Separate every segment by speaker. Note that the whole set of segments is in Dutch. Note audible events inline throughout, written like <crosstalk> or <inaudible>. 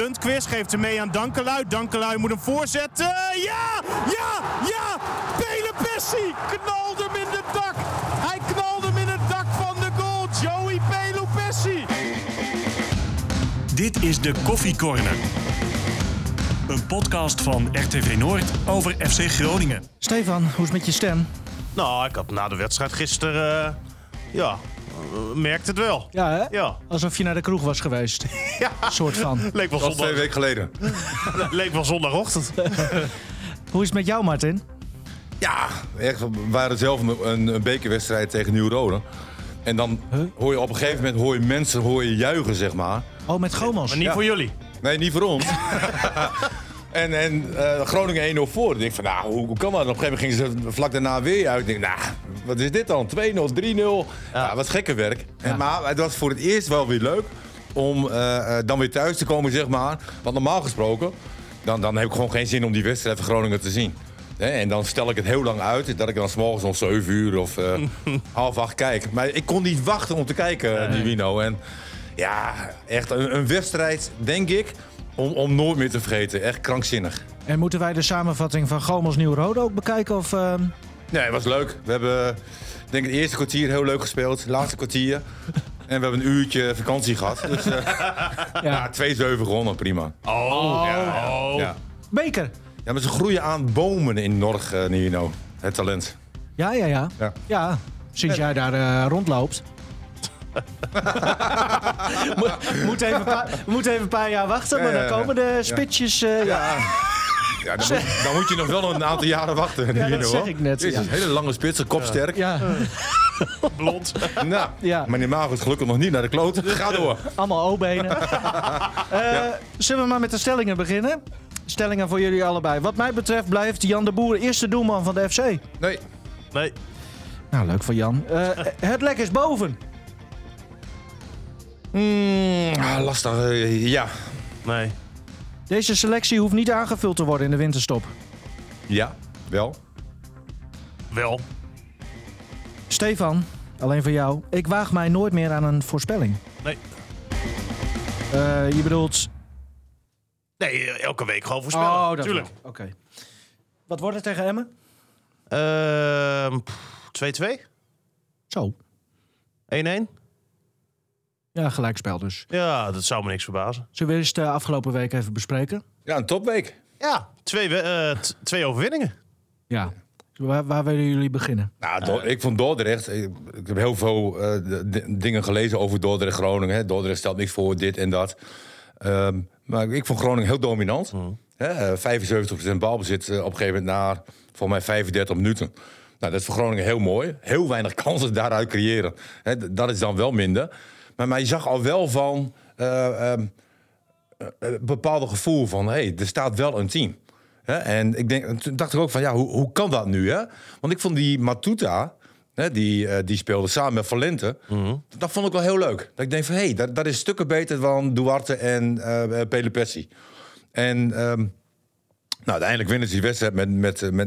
Speaker 1: Lundqvist geeft hem mee aan Dankelui. Dankelui moet hem voorzetten. Ja! Ja! Ja! Pele Pessi knalde hem in het dak. Hij knalde hem in het dak van de goal. Joey Pele Pessi.
Speaker 2: Dit is de Koffiecorner. Een podcast van RTV Noord over FC Groningen.
Speaker 3: Stefan, hoe is het met je stem?
Speaker 1: Nou, ik had na de wedstrijd gisteren... eh, ja, eh, merkte het wel.
Speaker 3: Ja, hè?
Speaker 1: Ja.
Speaker 3: Alsof je naar de kroeg was geweest.
Speaker 1: Ja.
Speaker 3: <laughs> soort
Speaker 1: <laughs>
Speaker 3: van.
Speaker 1: Leek wel,
Speaker 4: Dat was twee
Speaker 1: zondag,
Speaker 4: weken geleden.
Speaker 1: leek wel zondagochtend.
Speaker 3: Hoe is het met jou, Martin?
Speaker 4: Ja, echt, we waren zelf een, een, een bekerwedstrijd tegen Nieuw-Rode. En dan hoor je op een gegeven moment hoor je mensen hoor je juichen, zeg maar.
Speaker 3: Oh, met Gomos.
Speaker 1: Maar niet voor jullie.
Speaker 4: Nee, niet voor ons. en en eh, Groningen 1-0 voor. Ik denk van, nou, hoe, hoe kan dat? En op een gegeven moment gingen ze vlak daarna weer uit. Ik denk, nou, wat is dit dan? 2-0, 3-0. Ja. wat gekke werk. En, maar het was voor het eerst wel weer leuk om eh, eh, dan weer thuis te komen, zeg maar. Want normaal gesproken, dan, dan heb ik gewoon geen zin om die wedstrijd van Groningen te zien. Hè, en dan stel ik het heel lang uit, dat ik dan s'morgens om 7 uur of eh, half acht kijk. Maar ik kon niet wachten om te kijken, eh, die Wino. En ja, echt een, een wedstrijd, denk ik, om, om nooit meer te vergeten. Echt krankzinnig.
Speaker 3: En moeten wij de samenvatting van Gomos Nieuw Rode ook bekijken? Of, ehm,
Speaker 4: Nee, het was leuk. We hebben, ik denk het eerste kwartier heel leuk gespeeld. Het laatste kwartier. En we hebben een uurtje vakantie gehad. Dus eh
Speaker 3: <laughs> ja.
Speaker 4: 2-7 gewonnen, prima.
Speaker 1: Oh, ja. Oh.
Speaker 4: Ja.
Speaker 3: Beker.
Speaker 4: ja, maar ze groeien aan bomen in Norg, eh Nino. Het talent.
Speaker 3: Ja, ja, ja.
Speaker 4: Ja.
Speaker 3: Ja, sinds jij daar eh,
Speaker 4: <laughs>
Speaker 3: rondloopt. Moet- moet, even een paar, moet even een paar jaar wachten, maar
Speaker 4: Ja, ja,
Speaker 3: dan komen de spitsjes. eh, ja.
Speaker 4: Ja, dan, moet, dan moet je nog wel een aantal jaren wachten, Nino.
Speaker 3: dat zeg
Speaker 4: hoor.
Speaker 3: ik net,
Speaker 4: Jezus,
Speaker 3: ja.
Speaker 4: een hele lange spits, een kopsterk.
Speaker 3: Ja,
Speaker 1: Blond.
Speaker 4: Nou,
Speaker 3: Ja.
Speaker 4: maar die maag is gelukkig nog niet naar de
Speaker 3: <laughs>
Speaker 4: kloot. Ga door.
Speaker 3: allemaal O-benen. Eh, Zullen we maar met de stellingen beginnen? Stellingen voor jullie allebei. Wat mij betreft blijft Jan de Boer eerste doelman van de FC.
Speaker 4: Nee,
Speaker 1: Nee.
Speaker 3: Nou, leuk voor Jan. Eh, het lek is boven.
Speaker 4: Mm, ah, lastig. eh, ja.
Speaker 1: Nee.
Speaker 3: Deze selectie hoeft niet aangevuld te worden in de winterstop.
Speaker 4: Ja, wel.
Speaker 1: Wel.
Speaker 3: Stefan, alleen voor jou. Ik waag mij nooit meer aan een voorspelling.
Speaker 1: Nee.
Speaker 3: Eh, je bedoelt... Oh,
Speaker 1: Nee, eh, elke week gewoon voorspellen. Tuurlijk.
Speaker 3: wel. Oké. Wat wordt het tegen Emmen?
Speaker 1: Ehm, pff, 2-2?
Speaker 3: Zo.
Speaker 1: 1-1?
Speaker 3: Ja, gelijkspel dus.
Speaker 1: Ja, dat zou me niks verbazen.
Speaker 3: Zullen we eerst de afgelopen week even bespreken?
Speaker 4: Ja, een topweek.
Speaker 1: Ja, twee, we- eh, t- twee overwinningen.
Speaker 3: Ja. Waar, waar willen jullie beginnen?
Speaker 4: Nou, Do- ik vond Dordrecht. Ik, ik heb heel veel eh, d- d- dingen gelezen over Dordrecht Groningen. Hè. Dordrecht stelt niks voor, dit en dat. Ehm, maar ik vond Groningen heel dominant. Hè, eh, 75% balbezit eh, op een gegeven moment naar voor mij 35 minuten. Nou, dat is voor Groningen heel mooi. Heel weinig kansen daaruit creëren. Hè, d- dat is dan wel minder. Maar, maar je zag al wel van eh, ehm, een bepaalde gevoel van... hé, hey, er staat wel een team. Hè, en ik denk, en toen dacht ik ook van, ja, hoe, hoe kan dat nu? Hè? Want ik vond die Matuta, hè, die, eh, die speelde samen met Valente... dat vond ik wel heel leuk. Dat ik denk van, hé, hey, dat, dat is stukken beter dan Duarte en eh eh, Pele Pessi. En... ehm, nou, uiteindelijk winnen ze die wedstrijd met, met, eh, met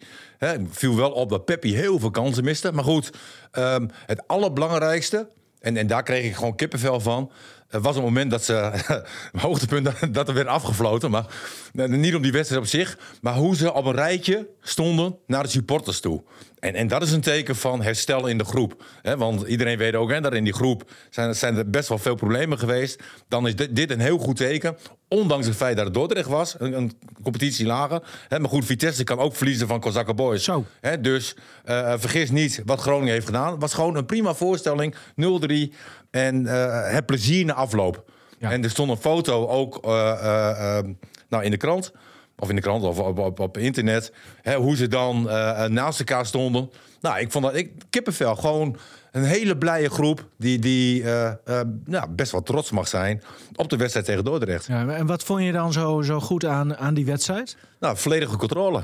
Speaker 4: 0-3. Hè, het viel wel op dat Peppi heel veel kansen miste. Maar goed, ehm, het allerbelangrijkste, en, en daar kreeg ik gewoon kippenvel van... eh, was het moment dat ze, <laughs> hoogtepunt, <laughs> dat, dat er werd afgefloten. Maar eh, niet om die wedstrijd op zich, maar hoe ze op een rijtje stonden naar de supporters toe. En, en dat is een teken van herstel in de groep. Hè, want iedereen weet ook hè, dat in die groep zijn, zijn er best wel veel problemen geweest. Dan is dit, dit een heel goed teken. Ondanks het feit dat het Dordrecht was, een, een competitie lager. Hè, maar goed, Vitesse kan ook verliezen van Kozakke Boys.
Speaker 3: Zo.
Speaker 4: Hè, dus eh, vergis niet wat Groningen heeft gedaan. Het was gewoon een prima voorstelling. 0-3 en eh, het plezier na afloop.
Speaker 3: Ja.
Speaker 4: En er stond een foto ook eh, eh, eh, nou, in de krant. Of in de krant of op, op, op internet. Hè, hoe ze dan eh, eh, naast elkaar stonden. Nou, ik vond dat ik, kippenvel. Gewoon een hele blije groep. Die, die eh, eh, nou, best wel trots mag zijn op de wedstrijd tegen Dordrecht.
Speaker 3: Ja, en wat vond je dan zo, zo goed aan, aan die wedstrijd?
Speaker 4: Nou, volledige controle.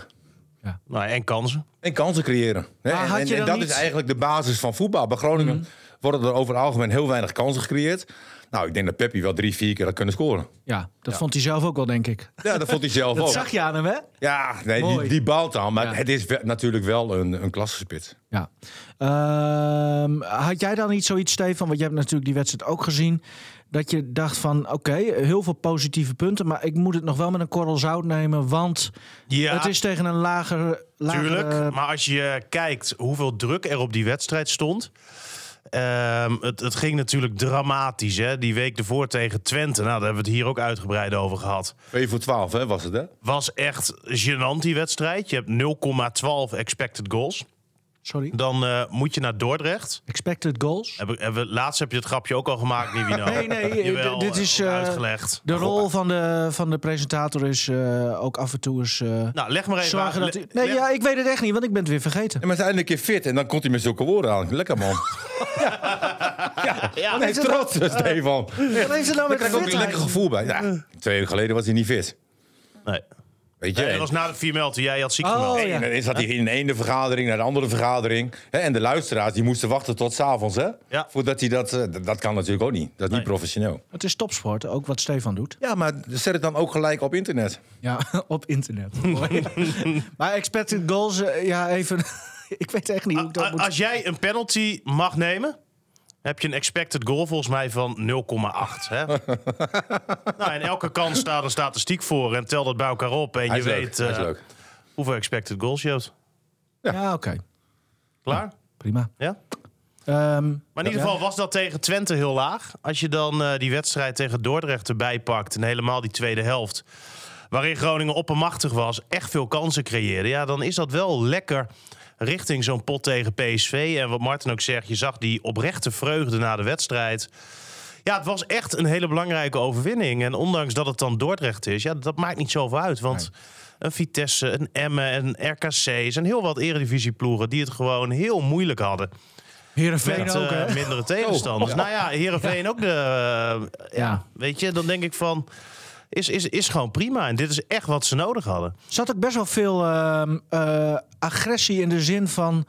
Speaker 1: Nou, en kansen.
Speaker 4: En kansen creëren. Hè?
Speaker 3: Maar
Speaker 4: En,
Speaker 3: had
Speaker 4: en-
Speaker 3: je
Speaker 4: en
Speaker 3: dan
Speaker 4: dat
Speaker 3: niet- Mhm.
Speaker 4: is eigenlijk de basis van voetbal. Bij Groningen worden er over het algemeen heel weinig kansen gecreëerd. Nou, ik denk dat Peppi wel drie, vier keer had kunnen scoren.
Speaker 3: Ja, dat vond hij zelf ook wel, denk ik.
Speaker 4: Ja, dat vond hij zelf
Speaker 3: Dat
Speaker 4: ook.
Speaker 3: zag je aan hem, hè?
Speaker 4: Ja, nee, die,
Speaker 3: Mooi.
Speaker 4: die baalt dan. Maar
Speaker 3: Ja.
Speaker 4: het is wel- natuurlijk wel een, een klassenspit.
Speaker 3: Ja. Ehm, had jij dan niet zoiets, Stefan? Want je hebt natuurlijk die wedstrijd ook gezien. Dat je dacht van, oké, heel veel positieve punten. Maar ik moet het nog wel met een korrel zout nemen. Want
Speaker 5: Ja,
Speaker 3: het is tegen een lager... lager
Speaker 5: Tuurlijk, maar als je eh, kijkt hoeveel druk er op die wedstrijd stond. ehm, het, het ging natuurlijk dramatisch, hè? Die week ervoor tegen Twente. Nou, daar hebben we het hier ook uitgebreid over gehad.
Speaker 4: 2 voor 12 hè, was het, hè?
Speaker 5: Was echt gênant die wedstrijd. Je hebt 0,12 expected goals.
Speaker 3: Sorry.
Speaker 5: Dan eh, moet je naar Dordrecht.
Speaker 3: Expected goals.
Speaker 5: Heb, ik- hebben we- laatst heb je het grapje ook al
Speaker 3: <laughs>
Speaker 5: gemaakt, Nivino.
Speaker 3: Nee, nee,
Speaker 5: Jawel,
Speaker 3: d- dit is,
Speaker 5: eh,
Speaker 3: eh,
Speaker 5: uitgelegd.
Speaker 3: De rol van de, van de presentator is eh, ook af en toe eens... eh,
Speaker 5: Nou, leg maar even
Speaker 3: zorgen
Speaker 5: aan.
Speaker 3: dat...
Speaker 5: Le-
Speaker 3: u- Nee,
Speaker 5: leg-
Speaker 3: ja, ik weet het echt niet, want ik ben het weer vergeten.
Speaker 4: En maar ze zijn een keer fit en dan komt hij met zulke woorden aan.
Speaker 3: <laughs>
Speaker 4: Lekker, man. ja, ja. Nee,
Speaker 3: is het
Speaker 4: trots, Stefan. Daar
Speaker 3: Wat heeft het nou met
Speaker 4: krijg ik ook een
Speaker 3: fitheid?
Speaker 4: lekker gevoel bij. Ja, twee weken geleden was hij niet fit.
Speaker 5: Nee.
Speaker 4: Weet je?
Speaker 5: Nee, dat was na de vier melden. Jij had ziek
Speaker 3: Oh,
Speaker 5: gemeld.
Speaker 3: ja.
Speaker 4: En dan zat hij in de ene vergadering naar de andere vergadering. Hè, en de luisteraars die moesten wachten tot s'avonds. hè?
Speaker 5: Ja.
Speaker 4: Voordat hij dat. eh, d- Dat kan natuurlijk ook niet. Dat is niet
Speaker 5: Nee.
Speaker 4: professioneel.
Speaker 3: Het is topsport, ook wat Stefan doet.
Speaker 4: Ja, maar zet het dan ook gelijk op internet.
Speaker 3: Ja, <laughs> op <laughs> internet. Mooi. maar expected goals, eh, ja, even. <laughs> ik weet echt niet hoe ik dat
Speaker 5: Eh, A-
Speaker 3: moet.
Speaker 5: Als jij een penalty mag nemen, heb je een expected goal volgens mij van 0,8.
Speaker 4: <laughs>
Speaker 5: Hè? nou, en elke kans staat een statistiek voor en tel dat bij elkaar op. En
Speaker 4: Hij
Speaker 5: je
Speaker 4: is leuk.
Speaker 5: weet
Speaker 4: Hij is
Speaker 5: eh,
Speaker 4: leuk.
Speaker 5: hoeveel expected goals je hebt.
Speaker 3: Ja, oké.
Speaker 5: Klaar?
Speaker 3: Prima.
Speaker 5: Ja?
Speaker 3: Ehm,
Speaker 5: Maar in ieder geval was dat tegen Twente heel laag. Als je dan eh, die wedstrijd tegen Dordrecht erbij pakt en helemaal die tweede helft... waarin Groningen oppermachtig was, echt veel kansen creëerde... ja, dan is dat wel lekker richting zo'n pot tegen PSV. En wat Martin ook zegt, je zag die oprechte vreugde na de wedstrijd... Ja, het was echt een hele belangrijke overwinning. En ondanks dat het dan Dordrecht is, ja, dat maakt niet zoveel uit. Want een Vitesse, een Emmen, een RKC... zijn heel wat eredivisieploegen die het gewoon heel moeilijk hadden.
Speaker 3: Heerenveen
Speaker 5: Met
Speaker 3: ook, hè? Oh.
Speaker 5: eh, mindere tegenstanders. Nou ja, Heerenveen ook de... eh, ja.
Speaker 3: Ja.
Speaker 5: weet je, dan denk ik van... Is, is, is gewoon prima. En dit is echt wat ze nodig hadden.
Speaker 3: Zat ook best wel veel ehm, eh, agressie in de zin van.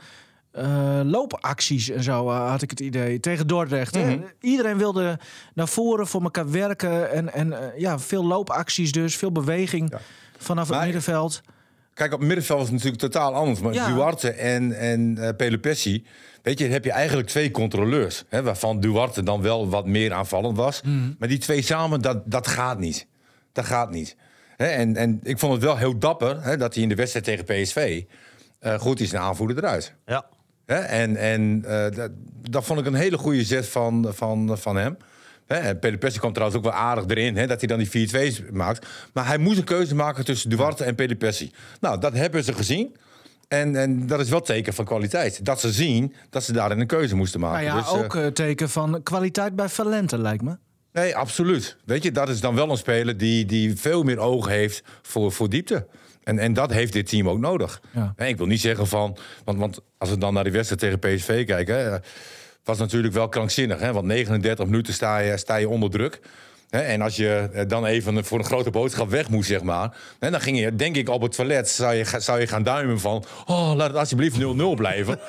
Speaker 3: eh, loopacties en zo eh, had ik het idee tegen Dordrecht. hè. Iedereen wilde naar voren voor elkaar werken en, en eh, ja, veel loopacties dus, veel beweging vanaf het
Speaker 4: Maar-
Speaker 3: middenveld.
Speaker 4: Kijk, op het middenveld was het natuurlijk totaal anders. Maar
Speaker 3: Ja.
Speaker 4: Duarte en, en eh, Pelopessi, weet je, dan heb je eigenlijk twee controleurs. Hè, waarvan Duarte dan wel wat meer aanvallend was.
Speaker 5: Hmm.
Speaker 4: Maar die twee samen, dat, dat gaat niet. Dat gaat niet. Hè, en, en ik vond het wel heel dapper hè, dat hij in de wedstrijd tegen PSV eh, goed is naar aanvoerder eruit.
Speaker 5: Ja.
Speaker 4: Hè, en en eh, dat, dat vond ik een hele goede zet van, van, van hem. Hè, en Pelopessi kwam trouwens ook wel aardig erin, hè, dat hij dan die 4-2's maakt. Maar hij moest een keuze maken tussen Duarte en Pelopessi. Nou, dat hebben ze gezien. En, en dat is wel teken van kwaliteit. Dat ze zien dat ze daarin een keuze moesten
Speaker 3: Nou
Speaker 4: maken.
Speaker 3: ja,
Speaker 4: Dus, eh,
Speaker 3: ook eh, teken van kwaliteit bij Valente lijkt me.
Speaker 4: Nee, absoluut. Weet je, dat is dan wel een speler die, die veel meer oog heeft voor, voor diepte. En, en dat heeft dit team ook nodig.
Speaker 3: Ja.
Speaker 4: En ik wil niet zeggen van... Want, want als we dan naar die wedstrijd tegen PSV kijken... Hè, was natuurlijk wel krankzinnig. Hè, want 39 minuten sta je, sta je onder druk. Hè, en als je eh, dan even voor een grote boodschap weg moest, zeg maar... Hè, dan ging je, denk ik, op het toilet zou je, ga- zou je gaan duimen van... Oh, laat het alsjeblieft 0-0
Speaker 3: <laughs>
Speaker 4: blijven.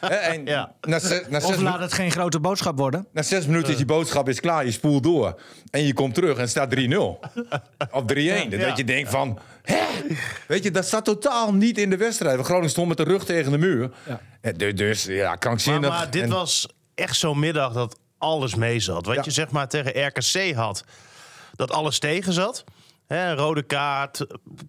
Speaker 4: Hè, en
Speaker 5: Ja.
Speaker 4: na, ze- na
Speaker 3: Of
Speaker 4: zes
Speaker 3: laat het geen grote boodschap worden.
Speaker 4: na zes minuten is je boodschap is klaar, je spoelt door. En je komt terug en het staat 3-0.
Speaker 5: <laughs>
Speaker 4: of 3-1. Dat
Speaker 5: Ja.
Speaker 4: je denkt van... Hè? Weet je, dat staat totaal niet in de wedstrijd. Groningen stond met de rug tegen de muur.
Speaker 3: Ja.
Speaker 4: Eh, du- Dus ja,
Speaker 5: Maar,
Speaker 4: krankzinnig.
Speaker 5: maar dit
Speaker 4: En-
Speaker 5: was echt zo'n middag dat alles mee zat. Wat
Speaker 4: Ja.
Speaker 5: je zeg maar tegen RKC had, dat alles tegen zat. Hè, een rode kaart,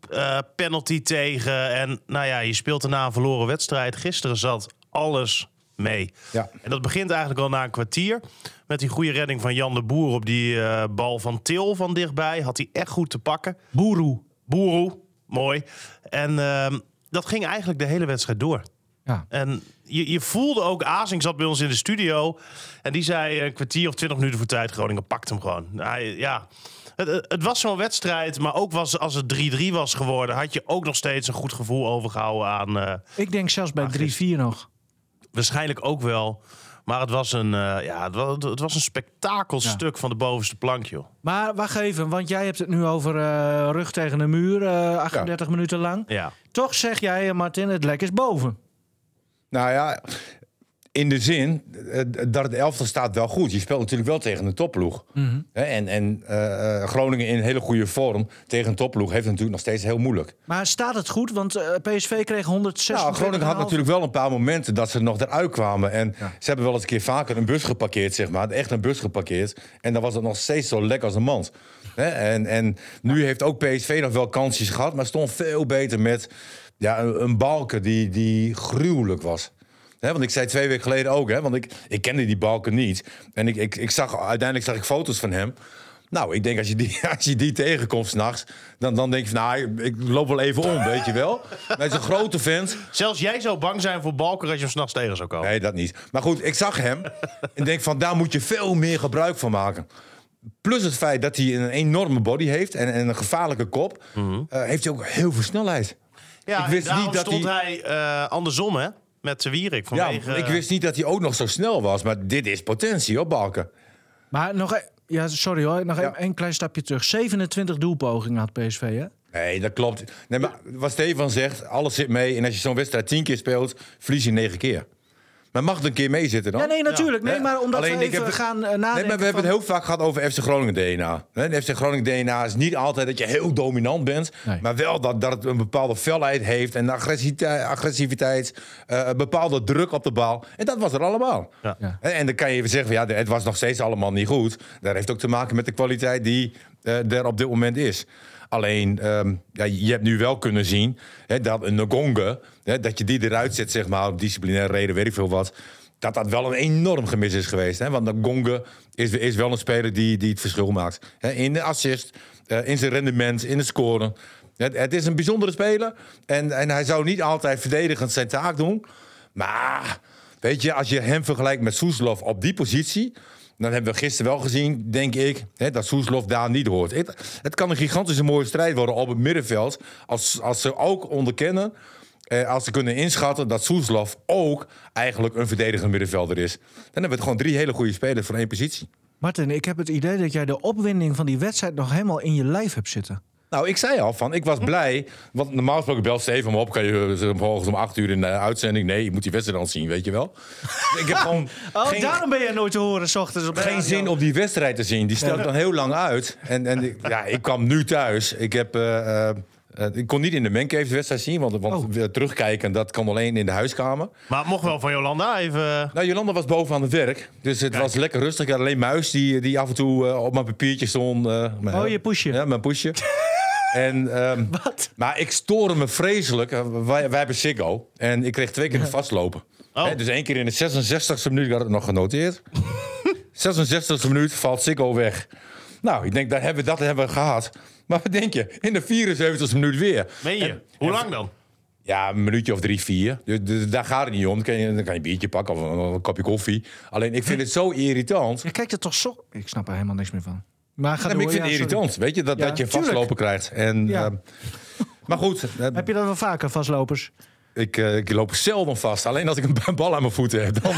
Speaker 5: eh, penalty tegen. En nou ja, je speelt daarna een verloren wedstrijd. Gisteren zat alles mee.
Speaker 4: Ja.
Speaker 5: En dat begint eigenlijk al na een kwartier. Met die goede redding van Jan de Boer op die eh, bal van Til van dichtbij. Had hij echt goed te pakken.
Speaker 3: Boeroe.
Speaker 5: Boeroe, mooi. En ehm, dat ging eigenlijk de hele wedstrijd door.
Speaker 3: Ja.
Speaker 5: En je, je voelde ook, Azing zat bij ons in de studio. En die zei een kwartier of twintig minuten voor tijd, Groningen pakt hem gewoon. Hij, ja. het, het- het was zo'n wedstrijd, maar ook was, als het 3-3 was geworden... had je ook nog steeds een goed gevoel overgehouden aan... eh,
Speaker 3: Ik denk zelfs bij 3-4 nog.
Speaker 5: waarschijnlijk ook wel... Maar het was een, eh, ja, het was, het was een spektakelstuk van de bovenste plank, joh.
Speaker 3: Maar wacht even, want jij hebt het nu over eh, rug tegen de muur, eh 38 minuten lang.
Speaker 5: Ja.
Speaker 3: Toch zeg jij, eh, Martin, het lek is boven.
Speaker 4: Nou ja, In de zin eh, dat het elftal staat wel goed. Je speelt natuurlijk wel tegen een topploeg.
Speaker 5: Mhm.
Speaker 4: Hè, En, en eh, eh, Groningen in hele goede vorm tegen een topploeg heeft het natuurlijk nog steeds heel moeilijk.
Speaker 3: Maar staat het goed? Want eh, PSV kreeg 160.
Speaker 4: Nou, Groningen had natuurlijk wel een paar momenten dat ze er nog eruit kwamen. En ze hebben wel eens een keer vaker een bus geparkeerd, zeg maar. Echt een bus geparkeerd. En dan was het nog steeds zo lek als een mand. Hè, En, en nu heeft ook PSV nog wel kansjes gehad, maar stond veel beter met ja, een, een balken die, die gruwelijk was. Hè, want ik zei twee weken geleden ook, hè, want ik, ik kende die balken niet. En ik, ik, ik zag, uiteindelijk zag ik foto's van hem. Nou, ik denk als je die, <laughs> als je die tegenkomt s'nachts, dan, dan denk je van, nou, ik- ik loop wel even om, weet je wel. Maar hij is een grote vent.
Speaker 5: Zelfs jij zou bang zijn voor Balker als je hem s'nachts tegen zou komen.
Speaker 4: Nee, dat niet. Maar goed, ik zag hem en denk van daar moet je veel meer gebruik van maken. Plus het feit dat hij een enorme body heeft en, en een gevaarlijke kop, eh, heeft hij ook heel veel snelheid.
Speaker 5: Ja,
Speaker 4: ik
Speaker 5: en
Speaker 4: wist
Speaker 5: daarom
Speaker 4: niet dat
Speaker 5: stond hij eh, andersom, hè? Met de Wierik.
Speaker 4: Ja,
Speaker 5: Vanwege,
Speaker 4: ik wist niet dat hij ook nog zo snel was, maar dit is potentie hoor, Balken.
Speaker 3: Maar nog e- ja, sorry hoor, nog
Speaker 4: Ja.
Speaker 3: een, een klein stapje terug. 27 doelpogingen had PSV,
Speaker 4: Oh.
Speaker 3: hè?
Speaker 4: Nee, dat klopt. Nee, maar wat Stefan zegt, alles zit mee. En als je zo'n wedstrijd tien keer speelt, verlies je negen keer. Maar mag het een keer meezitten dan?
Speaker 3: Ja, nee, natuurlijk. Nee,
Speaker 4: Ja.
Speaker 3: maar omdat
Speaker 4: Alleen,
Speaker 3: we
Speaker 4: ik
Speaker 3: even
Speaker 4: heb het-
Speaker 3: gaan eh,
Speaker 4: Nee,
Speaker 3: nadenken
Speaker 4: maar we hebben het heel vaak gehad over FC Groningen DNA. Hè, De FC Groningen DNA is niet altijd dat je heel dominant bent.
Speaker 3: Nee.
Speaker 4: Maar wel dat, dat het een bepaalde felheid heeft. En agressiviteit, agressiviteit eh, een bepaalde druk op de bal. En dat was er allemaal.
Speaker 5: Ja.
Speaker 3: Ja.
Speaker 4: En, en dan kan je even zeggen, van, ja, het was nog steeds allemaal niet goed. Dat heeft ook te maken met de kwaliteit die eh, er op dit moment is. Alleen, ehm, ja, je hebt nu wel kunnen zien hè, dat een Nogonge... hè, dat je die eruit zet, zeg maar, op disciplinaire reden, weet ik veel wat... dat dat wel een enorm gemis is geweest. Hè? Want Nogonge is, is wel een speler die, die het verschil maakt. Hè, in de assist, eh, in zijn rendement, in het scoren. Het, het is een bijzondere speler. En, en hij zou niet altijd verdedigend zijn taak doen. Maar Weet je, als je hem vergelijkt met Soeslof op die positie. Dan hebben we gisteren wel gezien, denk ik, hè, dat Soeslof daar niet hoort. Het, het kan een gigantische mooie strijd worden op het middenveld. Als, als ze ook onderkennen, eh, als ze kunnen inschatten dat Soeslof ook eigenlijk een verdedigend middenvelder is. Dan hebben we het gewoon drie hele goede spelers voor één positie.
Speaker 3: Martin, ik heb het idee dat jij de opwinding van die wedstrijd nog helemaal in je lijf hebt zitten.
Speaker 4: Nou, ik zei al van, ik was blij. Want normaal gesproken belt Steven me op. Kan je eh, morgens om acht uur in de uitzending? Nee, je moet die wedstrijd al zien, weet je wel. ik heb gewoon
Speaker 3: Oh,
Speaker 4: geen-
Speaker 3: ben jij nooit te horen, s ochtends op
Speaker 4: geen zin om die wedstrijd te zien. Die stelt dan heel lang uit. En, en ik- ja, ik kwam nu thuis. Ik, heb, eh, eh, eh, ik kon niet in de mancave de wedstrijd zien. Want, want weer terugkijken, dat kan alleen in de huiskamer.
Speaker 5: Maar het mocht wel van Jolanda even...
Speaker 4: Nou, Jolanda was boven aan het werk. Dus het was lekker rustig. Ik had alleen muis die, die af en toe eh, op mijn papiertje stond. eh, mijn-
Speaker 3: Oh, je poesje.
Speaker 4: Ja, mijn
Speaker 3: <laughs>
Speaker 4: poesje. en, ehm,
Speaker 3: Wat?
Speaker 4: maar ik stoorde me vreselijk. Eh, Wij, wij hebben Siggo. En ik kreeg twee keer het vastlopen.
Speaker 5: Oh.
Speaker 4: Hè, dus één keer in de 66e minuut, ik had het nog
Speaker 3: <laughs>
Speaker 4: genoteerd. 66e minuut valt Siggo weg. Nou, ik denk, dat hebben, we- dat hebben we gehad. Maar wat denk je? In de 74e minuut weer.
Speaker 5: Meen je? Hoe lang dan?
Speaker 4: Ja, een minuutje of drie, vier. Dus, dus daar gaat het niet om. Dan kan, je, dan kan je een biertje pakken of een, een kopje koffie. Alleen ik vind het zo irritant.
Speaker 3: Je kijkt er toch zo... Ik snap er helemaal niks meer van. Maar ga
Speaker 4: Nee, maar
Speaker 3: door,
Speaker 4: ik vind het
Speaker 3: ja, sorry.
Speaker 4: irritant, weet je, dat,
Speaker 3: Ja,
Speaker 4: dat je
Speaker 3: tuurlijk.
Speaker 4: vastlopen krijgt. En,
Speaker 3: Ja.
Speaker 4: ehm, maar
Speaker 3: <laughs>
Speaker 4: goed, eh,
Speaker 3: Heb je dat wel vaker, vastlopers?
Speaker 4: ik, eh, ik loop zelden vast. Alleen als ik een <laughs> bal aan mijn voeten
Speaker 3: <laughs>
Speaker 4: heb. Dan,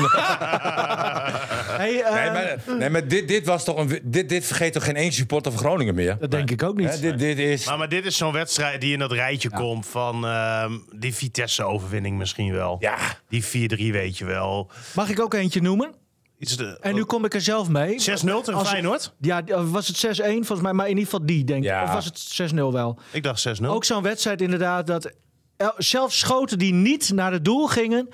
Speaker 3: Hey, eh,
Speaker 4: nee, maar, nee, maar dit, dit, was toch een, dit, dit vergeet toch geen één supporter van Groningen meer?
Speaker 3: dat denk ik ook niet.
Speaker 4: Hè, dit, dit is...
Speaker 5: Nou, Maar, maar dit is zo'n wedstrijd die in dat rijtje komt van ehm, die Vitesse-overwinning misschien wel.
Speaker 4: Ja,
Speaker 5: Die 4-3 weet je wel.
Speaker 3: Mag ik ook eentje noemen?
Speaker 5: Iets de,
Speaker 3: En nu
Speaker 4: Oh.
Speaker 3: kom ik er zelf mee.
Speaker 5: 6-0 tegen
Speaker 3: Als-
Speaker 5: Feyenoord?
Speaker 3: Ja, was het 6-1 volgens mij, maar in ieder geval die, denk ik.
Speaker 4: Ja.
Speaker 3: Of was het 6-0 wel?
Speaker 5: Ik dacht 6-0.
Speaker 3: Ook zo'n wedstrijd inderdaad, dat el- zelfs schoten die niet naar het doel gingen,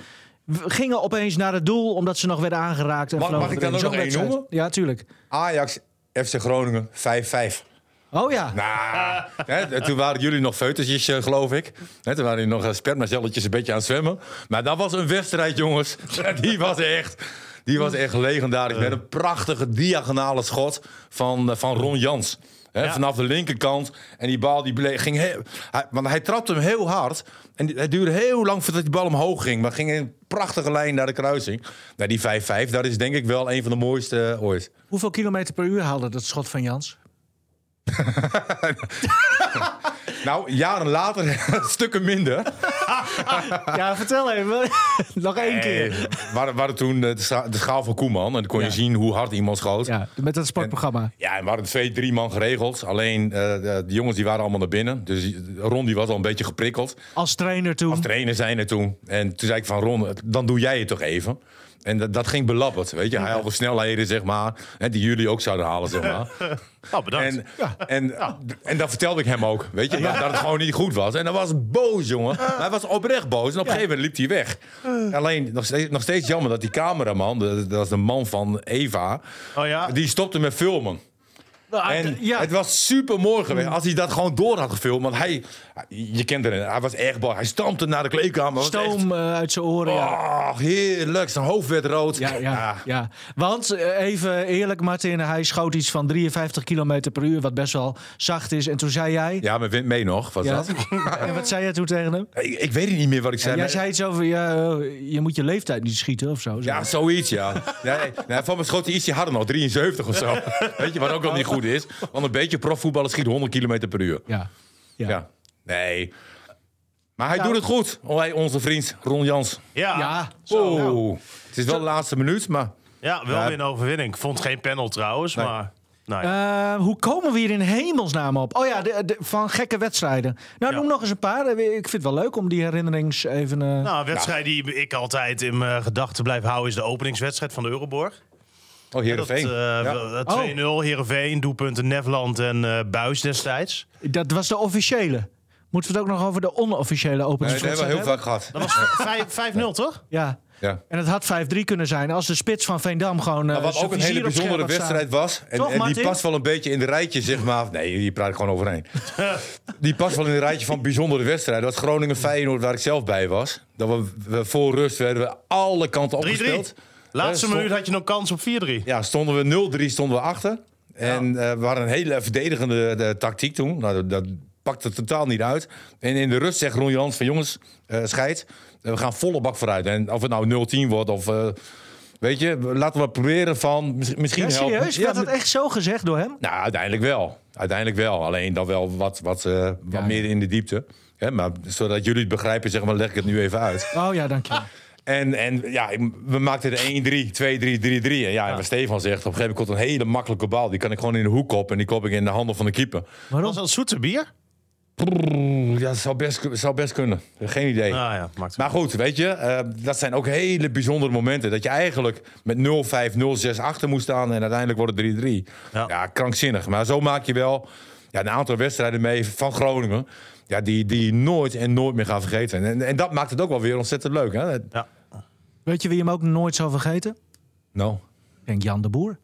Speaker 3: w- gingen opeens naar het doel omdat ze nog werden aangeraakt. En
Speaker 4: Mag- mag
Speaker 3: vlogen
Speaker 4: ik dan
Speaker 3: erin.
Speaker 4: ook
Speaker 3: Zo'n
Speaker 4: nog één
Speaker 3: wedstrijd.
Speaker 4: noemen?
Speaker 3: Ja, tuurlijk.
Speaker 4: Ajax, FC Groningen, 5-5.
Speaker 3: Oh ja.
Speaker 4: Nou, hè, toen waren jullie nog feutusjes, eh, geloof ik. Hè, toen waren jullie nog eh, spermacelletjes een beetje aan het zwemmen. Maar dat was een wedstrijd, jongens. <laughs> Die was echt, die was echt legendarisch. Met een prachtige diagonale schot van, eh, van Ron Jans. Hè,
Speaker 5: Ja.
Speaker 4: Vanaf de linkerkant. En die bal die ble- ging... He hij, want hij trapte hem heel hard. En die- het duurde heel lang voordat die bal omhoog ging. Maar ging in een prachtige lijn naar de kruising. Nou, die 5-5, dat is denk ik wel een van de mooiste eh, ooit.
Speaker 3: Hoeveel kilometer per uur haalde dat schot van
Speaker 4: <laughs>
Speaker 3: Jans?
Speaker 4: Nou, jaren later <laughs> stukken minder.
Speaker 3: Ja, vertel even. <laughs> nog één keer.
Speaker 4: Eh, waren, waren toen eh, de, scha- de schaal van Koeman. En dan kon je
Speaker 3: Ja.
Speaker 4: zien hoe hard iemand schoot. Ja.
Speaker 3: Ja, met dat sportprogramma.
Speaker 4: en we hadden twee, drie man geregeld. Alleen eh, de, de jongens die waren allemaal naar binnen. Dus die- Ron die was al een beetje geprikkeld.
Speaker 3: Als trainer toen.
Speaker 4: Als trainer zijn er toen. En toen zei ik van Ron, dan doe jij het toch even. En dat, dat ging belabberd, weet je. Hij had wel snelheden, zeg maar, hè, die jullie ook zouden
Speaker 3: <laughs>
Speaker 4: halen, zeg maar.
Speaker 5: Nou, bedankt.
Speaker 4: En, en, en dat vertelde ik hem ook, weet je, dat, dat het gewoon niet goed was. En hij was boos, jongen. Hij was oprecht boos en op een gegeven moment liep hij weg. Alleen, nog steeds, nog steeds jammer dat die cameraman, dat, dat was de man van Eva,
Speaker 5: Oh ja?
Speaker 4: die stopte met filmen. En
Speaker 3: Ah. Nou, ja. Mm.
Speaker 4: het was super mooi geweest als hij dat gewoon door had gefilmd. Want hij, je kent hem, hij was erg boos. Hij stampte naar de kleedkamer. was echt-
Speaker 3: Stoom eh, uit zijn oren. Ja.
Speaker 4: Oh, heerlijk. Zijn hoofd werd rood. Ah.
Speaker 3: Ja, ja, ja. Want eh, even eerlijk, Martin, hij schoot iets van 53 km per uur, wat best wel zacht is. En toen zei jij.
Speaker 4: Ja, maar wint mee nog. Wat is
Speaker 3: Ja.
Speaker 4: dat?
Speaker 3: <laughs> en wat zei jij toen tegen hem?
Speaker 4: Ik, ik weet het niet meer wat ik zei.
Speaker 3: jij
Speaker 4: maar-
Speaker 3: zei iets over, ja, eh, je moet je leeftijd niet schieten of zo.
Speaker 4: Ja, zoiets, ja. Nee, nee, van mijn schoot hij ietsje harder nog, 73 of <laughs> zo. Weet je, wat ook wel niet goed is. Want een beetje profvoetballen schiet 100 km per uur.
Speaker 3: Ja. Ja.
Speaker 4: Ja. Nee. Maar
Speaker 5: Nou.
Speaker 4: hij doet het goed. Oh, hij, onze vriend Ron Jans.
Speaker 5: Ja.
Speaker 3: Ja.
Speaker 5: Ja.
Speaker 4: Oh,
Speaker 5: nou.
Speaker 4: Het is wel de laatste minuut, maar... Oh,
Speaker 5: wel
Speaker 4: Ja.
Speaker 5: weer een overwinning. Ik vond geen panel trouwens,
Speaker 4: Nee.
Speaker 5: maar... Nou, ja.
Speaker 3: Eh, hoe komen we hier in hemelsnaam op? Oh ja, de, de- van gekke wedstrijden. Nou,
Speaker 5: Ja.
Speaker 3: noem nog eens een paar. Eh, Ik vind het wel leuk om die herinnerings even... eh,
Speaker 5: nou, een wedstrijd die ik altijd in mijn gedachten blijf houden... is de openingswedstrijd van de Euroborg.
Speaker 4: Oh,
Speaker 5: Dat,
Speaker 4: Heerenveen.
Speaker 5: eh,
Speaker 4: Ja.
Speaker 5: wel-
Speaker 3: Oh.
Speaker 5: 2-0, Heerenveen, doelpunten Nefland en eh Buis destijds.
Speaker 3: Dat was de officiële. Moeten we het ook nog over de onofficiële
Speaker 4: Nee, dat
Speaker 3: openingswedstrijd
Speaker 4: hebben we heel
Speaker 3: hebben?
Speaker 4: vaak
Speaker 5: Dat
Speaker 4: gehad.
Speaker 5: was vijf- 5-0, toch?
Speaker 3: Ja.
Speaker 4: Ja.
Speaker 3: En het had 5-3 kunnen zijn als de spits van Veendam gewoon... eh,
Speaker 4: Maar Nou, wat
Speaker 3: zijn
Speaker 4: ook een
Speaker 3: vizier
Speaker 4: hele
Speaker 3: op scherp
Speaker 4: bijzondere
Speaker 3: had staan.
Speaker 4: wedstrijd was. En,
Speaker 3: Toch,
Speaker 4: en die
Speaker 3: Martin?
Speaker 4: past wel een beetje in de rijtje, zeg maar. Nee, je praat er gewoon
Speaker 3: <laughs>
Speaker 4: overheen. die past wel in het rijtje van bijzondere wedstrijden. Dat was Groningen Feyenoord, waar ik zelf bij was. Dat we, we voor rust werden we alle kanten
Speaker 5: 3-3.
Speaker 4: opgespeeld.
Speaker 5: Laatste
Speaker 4: Eh, stond-
Speaker 5: minuut had je nog kans op 4-3.
Speaker 4: Ja, stonden we 0-3 stonden we achter. En eh, we hadden een hele verdedigende eh, tactiek toen. Nou, dat, dat pakte totaal niet uit. En in de rust zegt Ron Jans van jongens, eh scheid. Eh, we gaan volle bak vooruit. En of het nou 0-10 wordt of... eh, weet je, laten we proberen van... mis- Misschien
Speaker 3: Ja,
Speaker 4: helpen.
Speaker 3: serieus?
Speaker 4: Ja,
Speaker 3: Werd dat echt zo gezegd door hem?
Speaker 4: nou, uiteindelijk wel. Uiteindelijk wel. Alleen dan wel wat, wat, eh, wat
Speaker 3: Ja.
Speaker 4: meer in de diepte. Hè, maar zodat jullie het begrijpen, zeg maar, leg ik het nu even uit.
Speaker 3: Oh ja, dank je.
Speaker 4: Ah. En, en ja, we maakten de 1-3, 2-3, 3-3. En ja, en wat Stefan zegt, op een gegeven moment komt een hele makkelijke bal. Die kan ik gewoon in de hoek op en die kop ik in de handen van de keeper.
Speaker 5: Was
Speaker 3: Waarom?
Speaker 5: dat zoete bier?
Speaker 4: Prrr, Ja, zou best, zou best kunnen. Geen idee.
Speaker 5: Nou ja, maakt
Speaker 4: Maar goed, weet je, eh, dat zijn ook hele bijzondere momenten. Dat je eigenlijk met 0-5, 0-6 achter moest staan en uiteindelijk wordt het 3-3. Ja.
Speaker 5: Ja.
Speaker 4: krankzinnig. Maar zo maak je wel ja, een aantal wedstrijden mee van Groningen. Ja, die, die je nooit en nooit meer gaan vergeten. En, en dat maakt het ook wel weer ontzettend leuk. Hè?
Speaker 5: Ja.
Speaker 3: Weet je wie hem ook nooit zal vergeten?
Speaker 4: Nou,
Speaker 3: Ik denk Jan de Boer.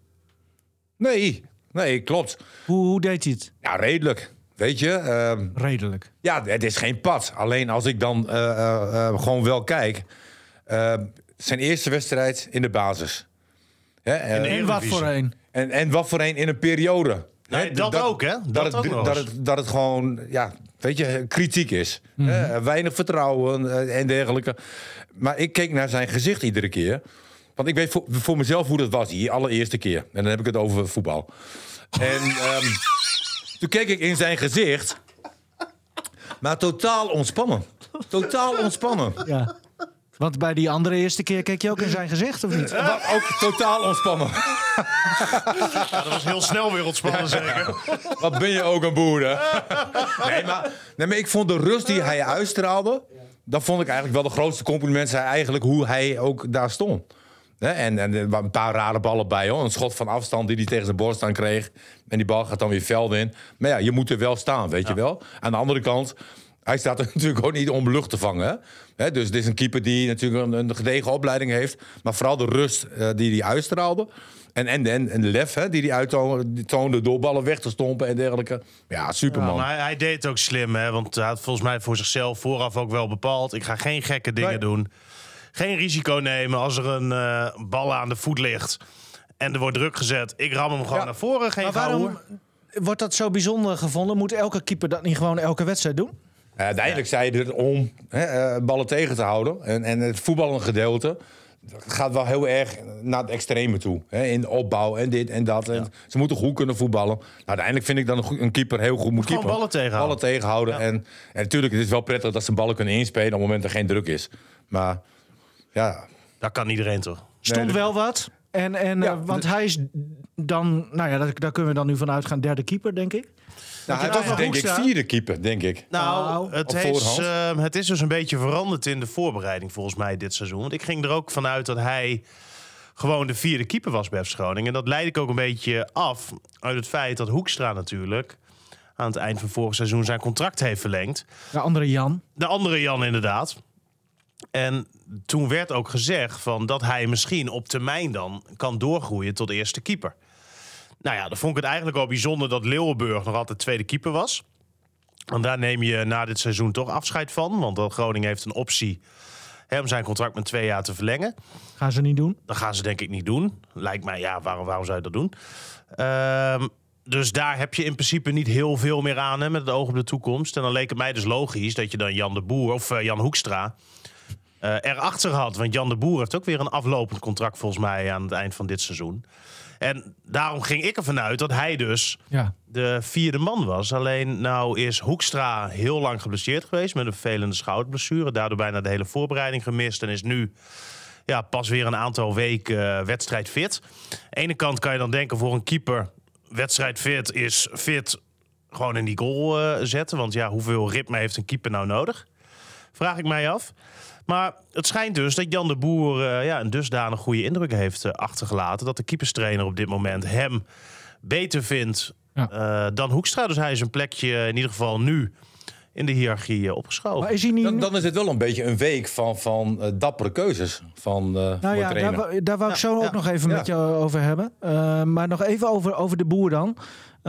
Speaker 4: nee, nee, klopt.
Speaker 3: Hoe, hoe deed hij het?
Speaker 4: Ja, redelijk. Weet je, ehm,
Speaker 3: Redelijk.
Speaker 4: ja, het is geen pad. Alleen als ik dan eh, eh, eh, gewoon wel kijk. eh, zijn eerste wedstrijd in de basis. Hè, eh,
Speaker 3: En wat
Speaker 5: Eredivisie.
Speaker 3: voor een?
Speaker 4: en, en wat voor een in een periode.
Speaker 5: Nee,
Speaker 4: Hè,
Speaker 5: dat ook, hè? Dat
Speaker 4: het,
Speaker 5: ook nog
Speaker 4: dat,
Speaker 5: eens.
Speaker 4: het, dat het gewoon, ja, weet je, kritiek is. Hè, weinig vertrouwen eh, en dergelijke. Maar ik keek naar zijn gezicht iedere keer. Want ik weet voor, voor mezelf hoe dat was, die allereerste keer. En dan heb ik het over voetbal. En ehm, toen keek ik in zijn gezicht. Maar totaal ontspannen. Totaal ontspannen.
Speaker 3: Ja. Want bij die andere eerste keer keek je ook in zijn gezicht, of niet?
Speaker 4: Maar ook totaal ontspannen.
Speaker 5: Ja, dat was heel snel weer ontspannen, zeker.
Speaker 4: Wat ben je ook een boer, hè? Nee maar, nee, maar ik vond de rust die hij uitstraalde... dat vond ik eigenlijk wel de grootste compliment... zijn eigenlijk hoe hij ook daar stond. Hè, En, en er waren een paar rare ballen bij, hoor. Een schot van afstand die hij tegen zijn borst aan kreeg. En die bal gaat dan weer veld in. Maar ja, je moet er wel staan, weet je wel. Aan de andere kant... Hij staat er <laughs> natuurlijk ook niet om lucht te vangen. hè. Hè, dus dit is een keeper die natuurlijk een, een gedegen opleiding heeft. Maar vooral de rust eh, die hij uitstraalde. En, en, en, en de lef hè, die hij uittoonde die toonde door ballen weg te stompen en dergelijke. Ja, superman.
Speaker 5: Maar hij, hij deed het ook slim, hè? Want hij had volgens mij voor zichzelf vooraf ook wel bepaald... ik ga geen gekke dingen
Speaker 4: Nee.
Speaker 5: doen. Geen risico nemen als er een eh, bal aan de voet ligt... en er wordt druk gezet. Ik ram hem gewoon
Speaker 4: Ja.
Speaker 5: naar voren, geen
Speaker 3: Maar
Speaker 5: waarom?
Speaker 3: waarom wordt dat zo bijzonder gevonden? Moet elke keeper dat niet gewoon elke wedstrijd doen?
Speaker 4: Eh, uiteindelijk zei hij er om hè, eh, ballen tegen te houden. En, en het voetballende gedeelte gaat wel heel erg naar het extreme toe. Hè, in opbouw en dit en dat. En Ze moeten goed kunnen voetballen. Nou, uiteindelijk vind ik dan een, goe- een keeper heel goed moet
Speaker 5: gewoon
Speaker 4: keeper.
Speaker 5: ballen tegenhouden.
Speaker 4: Ballen tegenhouden. En, en natuurlijk, het is wel prettig dat ze ballen kunnen inspelen... op het moment dat er geen druk is. Maar ja,
Speaker 5: Dat kan iedereen, toch?
Speaker 3: Stond
Speaker 4: dat-
Speaker 3: wel wat. En, en,
Speaker 4: Ja,
Speaker 3: eh, want hij is dan, nou ja, daar, daar kunnen we dan nu van uitgaan, derde keeper, denk ik.
Speaker 4: Nou, hij
Speaker 3: toch
Speaker 4: was
Speaker 3: nog
Speaker 4: denk ik
Speaker 3: Hoekstra?
Speaker 4: vierde keeper, denk ik.
Speaker 5: Nou,
Speaker 3: Nou,
Speaker 5: het
Speaker 4: op
Speaker 5: is,
Speaker 4: voorhand.
Speaker 5: eh, het is dus een beetje veranderd in de voorbereiding volgens mij dit seizoen. Want ik ging er ook vanuit dat hij gewoon de vierde keeper was bij FC Groningen. En dat leid ik ook een beetje af uit het feit dat Hoekstra natuurlijk aan het eind van vorig seizoen zijn contract heeft verlengd.
Speaker 3: De andere Jan.
Speaker 5: De andere Jan inderdaad. En toen werd ook gezegd van dat hij misschien op termijn dan kan doorgroeien tot eerste keeper. Nou ja, dan vond ik het eigenlijk al bijzonder dat Leeuwenburg nog altijd tweede keeper was. Want daar neem je na dit seizoen toch afscheid van. Want dat Groningen heeft een optie hè, om zijn contract met twee jaar te verlengen.
Speaker 3: Gaan ze niet doen.
Speaker 5: Dat gaan ze denk ik niet doen. Lijkt mij, ja, waarom, waarom zou je dat doen? Ehm, dus daar heb je in principe niet heel veel meer aan hè, met het oog op de toekomst. En dan leek het mij dus logisch dat je dan Jan de Boer of eh, Jan Hoekstra eh, erachter had. Want Jan de Boer heeft ook weer een aflopend contract volgens mij aan het eind van dit seizoen. En daarom ging ik ervan uit dat hij dus
Speaker 3: Ja.
Speaker 5: de vierde man was. Alleen nou is Hoekstra heel lang geblesseerd geweest met een vervelende schouderblessure. Daardoor bijna de hele voorbereiding gemist en is nu ja, pas weer een aantal weken eh, wedstrijd fit. Aan de ene kant kan je dan denken voor een keeper, wedstrijd fit is fit gewoon in die goal eh, zetten. Want ja, hoeveel ritme heeft een keeper nou nodig? Vraag ik mij af. Maar het schijnt dus dat Jan de Boer eh, ja, een dusdanig goede indruk heeft eh, achtergelaten. Dat de keeperstrainer op dit moment hem beter vindt
Speaker 3: Ja.
Speaker 5: eh, dan Hoekstra. Dus hij is een plekje in ieder geval nu in de hiërarchie eh, opgeschoven.
Speaker 3: Maar is hij niet...
Speaker 4: Dan, dan is het wel een beetje een week van, van eh, dappere keuzes van, eh van
Speaker 3: nou
Speaker 4: de
Speaker 3: ja, daar,
Speaker 4: trainer.
Speaker 3: wou- daar wou ik zo ook nog even
Speaker 4: ja.
Speaker 3: met jou over hebben. Eh, maar nog even over, over de boer dan.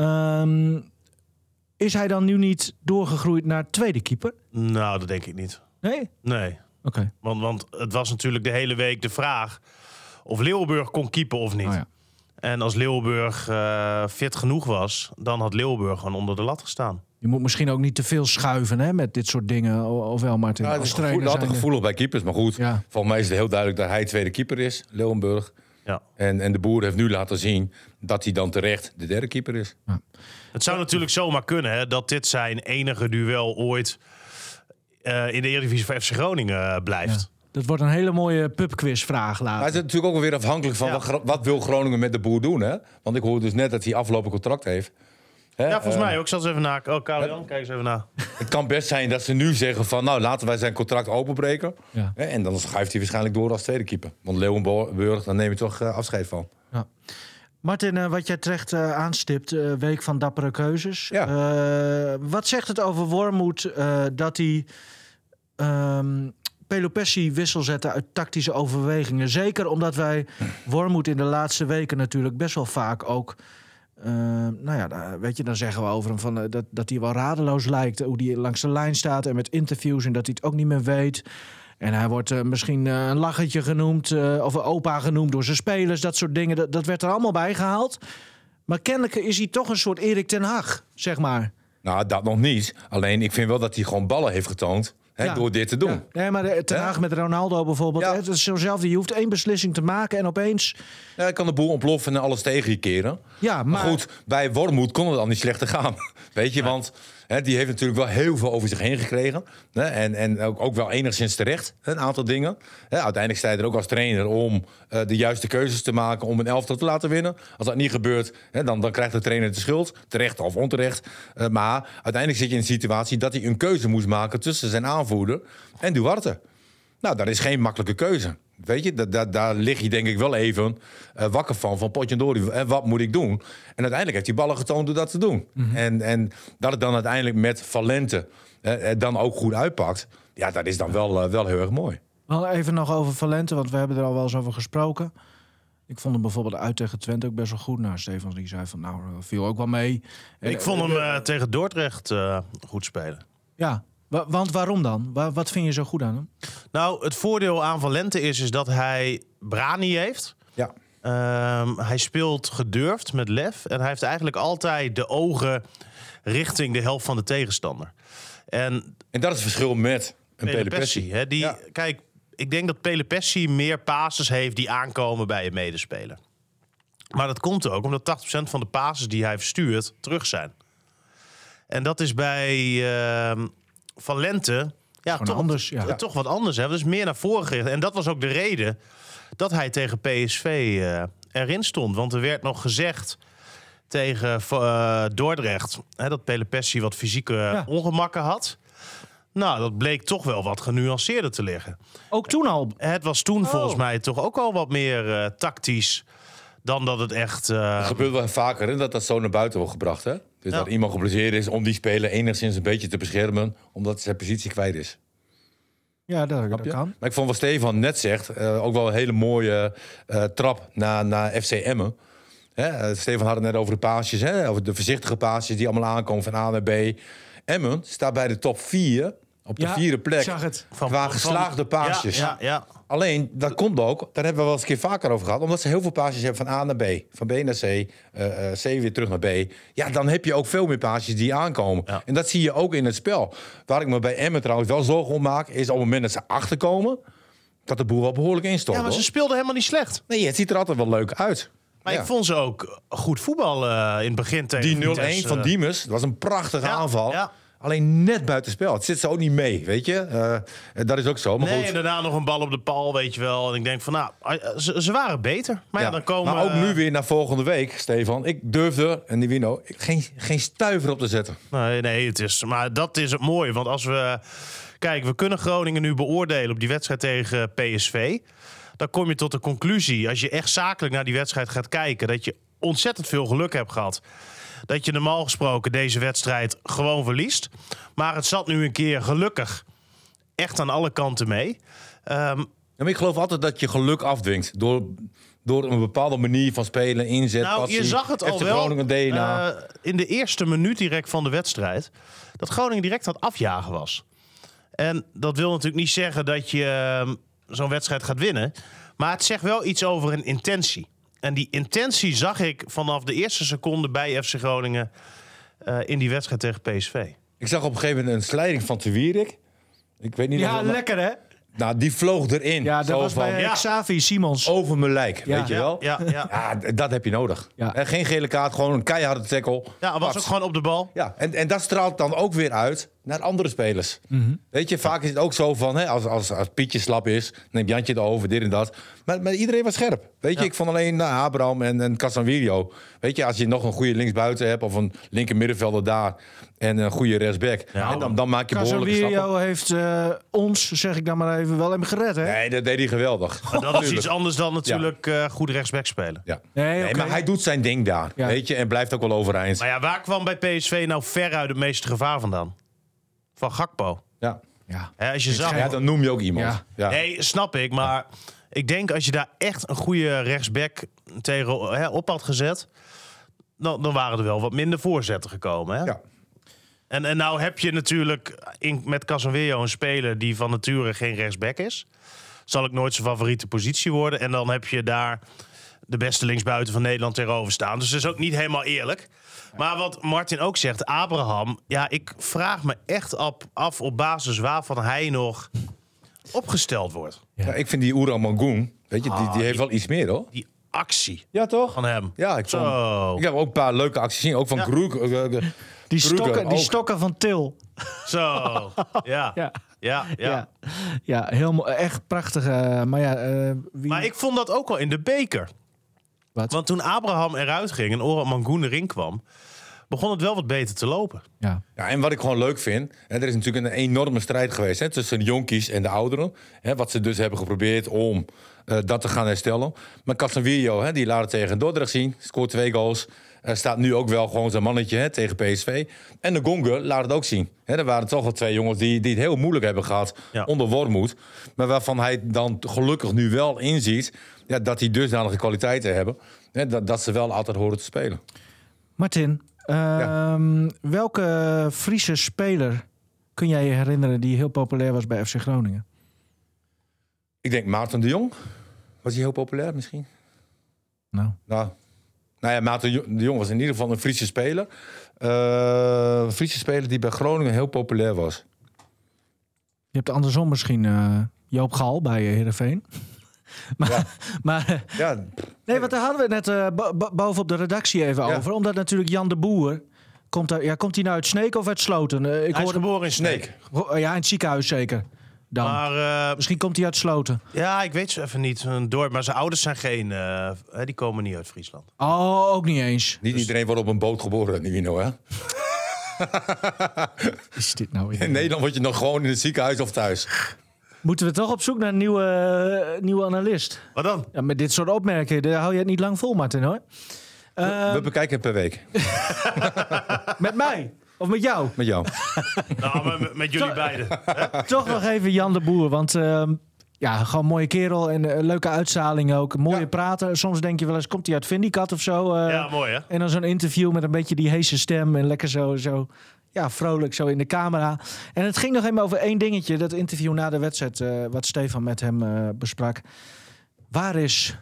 Speaker 3: Ehm, is hij dan nu niet doorgegroeid naar tweede keeper?
Speaker 5: Nou, dat denk ik niet.
Speaker 3: Nee? Oké.
Speaker 5: Nee. Want, want het was natuurlijk de hele week de vraag of Leeuwburg kon keepen of niet.
Speaker 3: Oh ja.
Speaker 5: En als Leeuwburg eh, fit genoeg was, dan had Leeuwburg gewoon onder de lat gestaan.
Speaker 3: Je moet misschien ook niet te veel schuiven hè, met dit soort dingen. o- Of wel, Martin?
Speaker 4: Ja, dat
Speaker 3: Als
Speaker 4: is gevoel,
Speaker 3: trainer
Speaker 4: altijd
Speaker 3: zijnde.
Speaker 4: gevoelig bij keepers, maar goed.
Speaker 3: Ja.
Speaker 4: Volgens mij is het heel duidelijk dat hij tweede keeper is, Leeuwenburg.
Speaker 5: Ja.
Speaker 4: En, en de boer heeft nu laten zien dat hij dan terecht de derde keeper is.
Speaker 5: Het zou natuurlijk zomaar kunnen hè, dat dit zijn enige duel ooit eh, in de Eredivisie voor FC Groningen eh, blijft.
Speaker 3: Dat wordt een hele mooie pubquizvraag later.
Speaker 4: Maar het is natuurlijk ook weer afhankelijk van
Speaker 5: Ja.
Speaker 4: wat, Gro- wat wil Groningen met de boer doen. Hè? Want ik hoor dus net dat hij afgelopen contract heeft. Hè,
Speaker 5: Ja, volgens
Speaker 4: eh,
Speaker 5: mij ook. Ik zal eens even naar. Oh, Karel Jan, kijk eens even naar.
Speaker 4: Het kan best zijn dat ze nu zeggen van nou laten wij zijn contract openbreken.
Speaker 3: Ja.
Speaker 4: Hè, en dan schuift hij waarschijnlijk door als tweede keeper. Want Leeuwenburg, daar neem je toch eh, afscheid van.
Speaker 3: Martin, eh, wat jij terecht eh, aanstipt, eh, week van dappere keuzes.
Speaker 4: Ja.
Speaker 3: Eh, wat zegt het over Wormoed eh, dat hij ehm Pelopessi wissel zette uit tactische overwegingen? Zeker omdat wij Wormoed in de laatste weken natuurlijk best wel vaak ook... eh, nou ja, daar- weet je, dan zeggen we over hem van, eh, dat, dat hij wel radeloos lijkt. eh, Hoe hij langs de lijn staat en met interviews en dat hij het ook niet meer weet. En hij wordt eh, misschien eh, een lachertje genoemd eh, of een opa genoemd door zijn spelers. Dat soort dingen, dat, dat werd er allemaal bij gehaald. Maar kennelijk is hij toch een soort Erik ten Hag, zeg maar.
Speaker 4: Nou, dat nog niet. Alleen ik vind wel dat hij gewoon ballen heeft getoond hè,
Speaker 3: Ja.
Speaker 4: door dit te doen.
Speaker 3: Ja. Nee, maar eh, ten
Speaker 4: Hè?
Speaker 3: Hag met Ronaldo bijvoorbeeld.
Speaker 4: Ja.
Speaker 3: hè, Het is zo'nzelfde. Je hoeft één beslissing te maken en opeens...
Speaker 4: Ja, hij kan de boel ontploffen en alles tegen je keren.
Speaker 3: Ja,
Speaker 4: Maar
Speaker 3: maar...
Speaker 4: goed, bij Wormoed kon het al niet slechter gaan. <laughs> Weet je, want hè, die heeft natuurlijk wel heel veel over zich heen gekregen. Hè, en en ook, ook wel enigszins terecht, hè, een aantal dingen. Hè, uiteindelijk sta je er ook als trainer om eh, de juiste keuzes te maken... om een elftal te laten winnen. Als dat niet gebeurt, hè, dan, dan krijgt de trainer de schuld. Terecht of onterecht. Eh, maar uiteindelijk zit je in een situatie dat hij een keuze moest maken... tussen zijn aanvoerder en Duarte. Nou, dat is geen makkelijke keuze. Weet je, da- da- daar lig je denk ik wel even eh, wakker van. Van potjendori, en wat moet ik doen? En uiteindelijk heeft hij ballen getoond door dat te doen. en, en dat het dan uiteindelijk met Valente eh, eh, dan ook goed uitpakt. Ja, dat is dan wel, eh, wel heel erg mooi.
Speaker 3: Wel even nog over Valente, want we hebben er al wel eens over gesproken. Ik vond hem bijvoorbeeld uit tegen Twente ook best wel goed. Nou, Stefan die zei van, nou, eh, viel ook wel mee. En,
Speaker 5: Ik vond hem eh, tegen Dordrecht eh, goed spelen.
Speaker 3: Ja, wa- want waarom dan? Wa- wat vind je zo goed aan hem?
Speaker 5: Nou, het voordeel aan Valente is, is dat hij Brani heeft.
Speaker 4: Ja.
Speaker 5: Ehm, hij speelt gedurfd met lef. En hij heeft eigenlijk altijd de ogen richting de helft van de tegenstander. En
Speaker 4: En dat is het verschil met een
Speaker 5: Pelopessi,
Speaker 4: Pelopessi.
Speaker 5: hè, die,
Speaker 4: Ja.
Speaker 5: Kijk, ik denk dat Pelopessi meer passes heeft die aankomen bij een medespeler. Maar dat komt ook omdat 80% van de passes die hij verstuurt terug zijn. En dat is bij ehm, Valente ja, toch,
Speaker 3: anders, ja.
Speaker 5: eh, toch wat anders. Hè? Dat is meer naar voren gericht. En dat was ook de reden dat hij tegen PSV eh, erin stond. Want er werd nog gezegd tegen eh, Dordrecht hè, dat Pelopessi wat fysieke eh, ongemakken had. Nou, dat bleek toch wel wat genuanceerder te liggen.
Speaker 3: Ook toen al.
Speaker 5: Het was toen
Speaker 3: Oh.
Speaker 5: volgens mij toch ook al wat meer eh, tactisch dan dat het echt... eh,
Speaker 4: Het gebeurt wel vaker hè, dat dat zo naar buiten wordt gebracht. Hè? Dus
Speaker 5: Ja.
Speaker 4: dat iemand geblesseerd is om die speler enigszins een beetje te beschermen. Omdat zijn positie kwijt is.
Speaker 3: Ja, dat, dat
Speaker 4: Snap je?
Speaker 3: kan.
Speaker 4: Maar ik vond wat Stefan net zegt, eh, ook wel een hele mooie eh, trap naar, naar FC Emmen. Hè, eh, Stefan had het net over de paasjes, hè, over de voorzichtige paasjes die allemaal aankomen van A naar B. Emmen staat bij de top 4, op de
Speaker 3: Ja,
Speaker 4: vierde plek,
Speaker 3: ik zag het.
Speaker 5: van,
Speaker 4: qua
Speaker 5: van-
Speaker 4: geslaagde paasjes.
Speaker 5: Ja, ja, ja.
Speaker 4: Alleen, dat komt ook, daar hebben we wel eens een keer vaker over gehad... omdat ze heel veel paasjes hebben van A naar B. Van B naar C, eh, eh, C weer terug naar B. Ja, dan heb je ook veel meer paasjes die aankomen.
Speaker 5: Ja.
Speaker 4: En dat zie je ook in het spel. Waar ik me bij Emmen trouwens wel zorgen om maak... is op het moment dat ze achterkomen... dat de boer wel behoorlijk instort.
Speaker 5: ja, maar ze
Speaker 4: hoor.
Speaker 5: speelden helemaal niet slecht.
Speaker 4: Nee, het ziet er altijd wel leuk uit.
Speaker 5: Maar
Speaker 4: Ja.
Speaker 5: ik vond ze ook goed voetbal eh, in het begin tegen
Speaker 4: Die 0-1
Speaker 5: Vitesse.
Speaker 4: van Diemers, dat was een prachtige
Speaker 5: Ja,
Speaker 4: aanval.
Speaker 5: ja.
Speaker 4: Alleen net buitenspel. Het zit ze ook niet mee, weet je. Eh, dat is ook zo. Maar
Speaker 5: Nee,
Speaker 4: goed.
Speaker 5: en daarna nog een bal op de paal, weet je wel. En ik denk van, nou, eh, ze, ze waren beter. Maar ja,
Speaker 4: Ja,
Speaker 5: dan komen...
Speaker 4: maar ook
Speaker 5: eh,
Speaker 4: nu weer naar volgende week, Stefan. Ik durfde, en die Wino, geen, geen stuiver op te zetten.
Speaker 5: Nee, nee, het is, maar dat is het mooie. Want als we. Kijk, we kunnen Groningen nu beoordelen op die wedstrijd tegen PSV. Dan kom je tot de conclusie, als je echt zakelijk naar die wedstrijd gaat kijken, dat je ontzettend veel geluk hebt gehad. Dat je normaal gesproken deze wedstrijd gewoon verliest. Maar het zat nu een keer gelukkig echt aan alle kanten mee. Ehm,
Speaker 4: Ja, maar ik geloof altijd dat je geluk afdwingt door, door een bepaalde manier van spelen, inzet,
Speaker 5: nou,
Speaker 4: passie.
Speaker 5: je zag het
Speaker 4: FC
Speaker 5: al wel
Speaker 4: Groningen DNA.
Speaker 5: eh, in de eerste minuut direct van de wedstrijd. Dat Groningen direct aan het afjagen was. En dat wil natuurlijk niet zeggen dat je ehm, zo'n wedstrijd gaat winnen. Maar het zegt wel iets over een intentie. En die intentie zag ik vanaf de eerste seconde bij FC Groningen eh, in die wedstrijd tegen PSV.
Speaker 4: ik zag op een gegeven moment een slijding van Te Wierik. Ik weet niet of
Speaker 3: Ja,
Speaker 4: dat-
Speaker 3: lekker hè?
Speaker 4: Nou, die vloog erin.
Speaker 3: Ja, dat
Speaker 4: Zo
Speaker 3: was
Speaker 4: van, Oh,
Speaker 3: bij
Speaker 5: ja.
Speaker 3: Xavi Simons.
Speaker 4: over mijn lijk, weet je
Speaker 5: Ja,
Speaker 4: wel?
Speaker 5: Ja, ja.
Speaker 4: Ja, d- dat heb je nodig.
Speaker 3: Ja.
Speaker 4: En geen gele kaart, gewoon een keiharde tackle.
Speaker 5: ja, was
Speaker 4: Pats.
Speaker 5: ook gewoon op de bal.
Speaker 4: Ja, en, en dat straalt dan ook weer uit naar andere spelers.
Speaker 5: Mhm.
Speaker 4: Weet je, vaak is het ook zo van, hè, als, als, als Pietje slap is, neemt Jantje het over, dit en dat. Maar, maar iedereen was scherp. Weet je, ik vond alleen nou, Abraham en, en Casanvirio. Weet je, als je nog een goede linksbuiten hebt of een linker middenvelder daar en een goede rechtsback, hè, dan, dan maak je behoorlijke stappen.
Speaker 3: Casemiro heeft eh, ons, zeg ik dan maar even, wel hem gered hè?
Speaker 4: Nee, dat deed hij geweldig.
Speaker 5: Maar dat is iets anders dan natuurlijk eh, goed rechtsback spelen.
Speaker 4: Ja.
Speaker 3: Nee,
Speaker 4: Nee,
Speaker 3: oké.
Speaker 4: maar hij doet zijn ding daar,
Speaker 3: Ja.
Speaker 4: weet je, en blijft ook wel overeind.
Speaker 5: Maar ja, waar kwam bij PSV nou veruit het meeste gevaar vandaan? Van Gakpo.
Speaker 4: Ja.
Speaker 3: Ja.
Speaker 5: Hè, als je zag
Speaker 4: ja, dan noem je ook iemand.
Speaker 3: Ja.
Speaker 4: Ja.
Speaker 5: Nee, snap ik. Maar ik denk als je daar echt een goede rechtsback tegen, hè, op had gezet... Dan, dan waren er wel wat minder voorzetten gekomen. Hè?
Speaker 4: Ja.
Speaker 5: En, en nou heb je natuurlijk in, met Casemiro een speler... die van nature geen rechtsback is. Zal ik nooit zijn favoriete positie worden. En dan heb je daar de beste linksbuiten van Nederland tegenover staan. Dus dat is ook niet helemaal eerlijk. Maar wat Martin ook zegt, Abraham... Ja, ik vraag me echt op, af op basis waarvan hij nog opgesteld wordt.
Speaker 4: Ja, ik vind die Oeran Mangoen, weet je, die, die heeft wel iets meer hoor.
Speaker 5: Ah, die actie
Speaker 4: Ja, toch?
Speaker 5: van hem.
Speaker 4: Ja, ik, vond-
Speaker 5: Zo.
Speaker 4: ik heb ook een paar leuke acties gezien. Ook van
Speaker 5: Ja.
Speaker 4: Kroek. eh, eh,
Speaker 3: Die,
Speaker 4: Kroeken
Speaker 3: stokken, die
Speaker 4: ook.
Speaker 3: stokken van Til.
Speaker 5: Zo. Ja. Ja.
Speaker 3: Ja.
Speaker 5: ja,
Speaker 3: Ja, ja heel mooi. Echt prachtig. eh, maar ja, eh, wie...
Speaker 5: Maar ik vond dat ook wel in de beker.
Speaker 3: Wat?
Speaker 5: Want toen Abraham eruit ging en Oran Mangoen erin kwam, begon het wel wat beter te lopen.
Speaker 3: ja.
Speaker 4: Ja, en wat ik gewoon leuk vind, hè, er is natuurlijk een enorme strijd geweest hè, tussen de jonkies en de ouderen. Hè, wat ze dus hebben geprobeerd om eh, dat te gaan herstellen. Maar Casemiro, hè, die laat het tegen Dordrecht zien, scoort twee goals. Er staat nu ook wel gewoon zijn mannetje hè, tegen PSV. En de Gonger laat het ook zien. Hè, er waren toch wel twee jongens die, die het heel moeilijk hebben gehad
Speaker 5: Ja.
Speaker 4: onder Wormoed. Maar waarvan hij dan gelukkig nu wel inziet ja, dat die dusdanige kwaliteiten hebben. Hè, dat, dat ze wel altijd horen te spelen.
Speaker 3: Martin, ehm, welke Friese speler kun jij je herinneren die heel populair was bij FC Groningen?
Speaker 4: Ik denk Maarten de Jong. Was hij heel populair misschien?
Speaker 3: Nou,
Speaker 4: Nou, nou ja, Maarten Jo- de Jong was in ieder geval een Friese speler. Eh, een Friese speler die bij Groningen heel populair was.
Speaker 3: je hebt andersom misschien eh, Joop Gal bij eh, Heerenveen. <laughs> maar, maar eh,
Speaker 4: Ja,
Speaker 3: Nee, want daar hadden we het net eh, bo- bo- boven op de redactie even
Speaker 4: Ja.
Speaker 3: over. Omdat natuurlijk Jan de Boer... Komt, uit, ja, komt hij nou uit Sneek of uit Sloten? Eh, ik
Speaker 5: Hij is
Speaker 3: hoorde,
Speaker 5: geboren in Sneek.
Speaker 4: Sneek.
Speaker 3: ho- ja, in het ziekenhuis zeker. dan.
Speaker 5: Maar eh,
Speaker 3: Misschien komt hij uit Sloten.
Speaker 5: ja, ik weet ze even niet. Een dorp, maar zijn ouders zijn geen. eh, hè, die komen niet uit Friesland.
Speaker 3: Oh, ook niet eens.
Speaker 4: Niet iedereen wordt op een boot geboren, Nino, hè?
Speaker 3: Is dit nou weer-
Speaker 4: In Nederland word je nog gewoon in het ziekenhuis of thuis.
Speaker 3: Moeten we toch op zoek naar een nieuwe, eh, nieuwe analist?
Speaker 5: Wat dan?
Speaker 3: Ja, met dit soort opmerkingen daar hou je het niet lang vol, Martin, hoor. Ehm.
Speaker 4: We bekijken het per week.
Speaker 3: Met mij. Of met jou.
Speaker 4: Met
Speaker 3: <laughs>
Speaker 5: <laughs>
Speaker 4: jou.
Speaker 5: Nou, maar met, met jullie <laughs> beiden.
Speaker 3: Toch nog even Jan de Boer, want... ehm, ja, gewoon een mooie kerel en eh, leuke uitzaling ook. Een Mooie praten. Soms denk je wel eens, komt hij uit Vindicat of zo? eh,
Speaker 5: Ja, mooi hè?
Speaker 3: En dan zo'n interview met een beetje die heese stem en lekker zo, zo ja, vrolijk zo in de camera. En het ging nog even over één dingetje, dat interview na de wedstrijd, eh, wat Stefan met hem eh, besprak. Waar is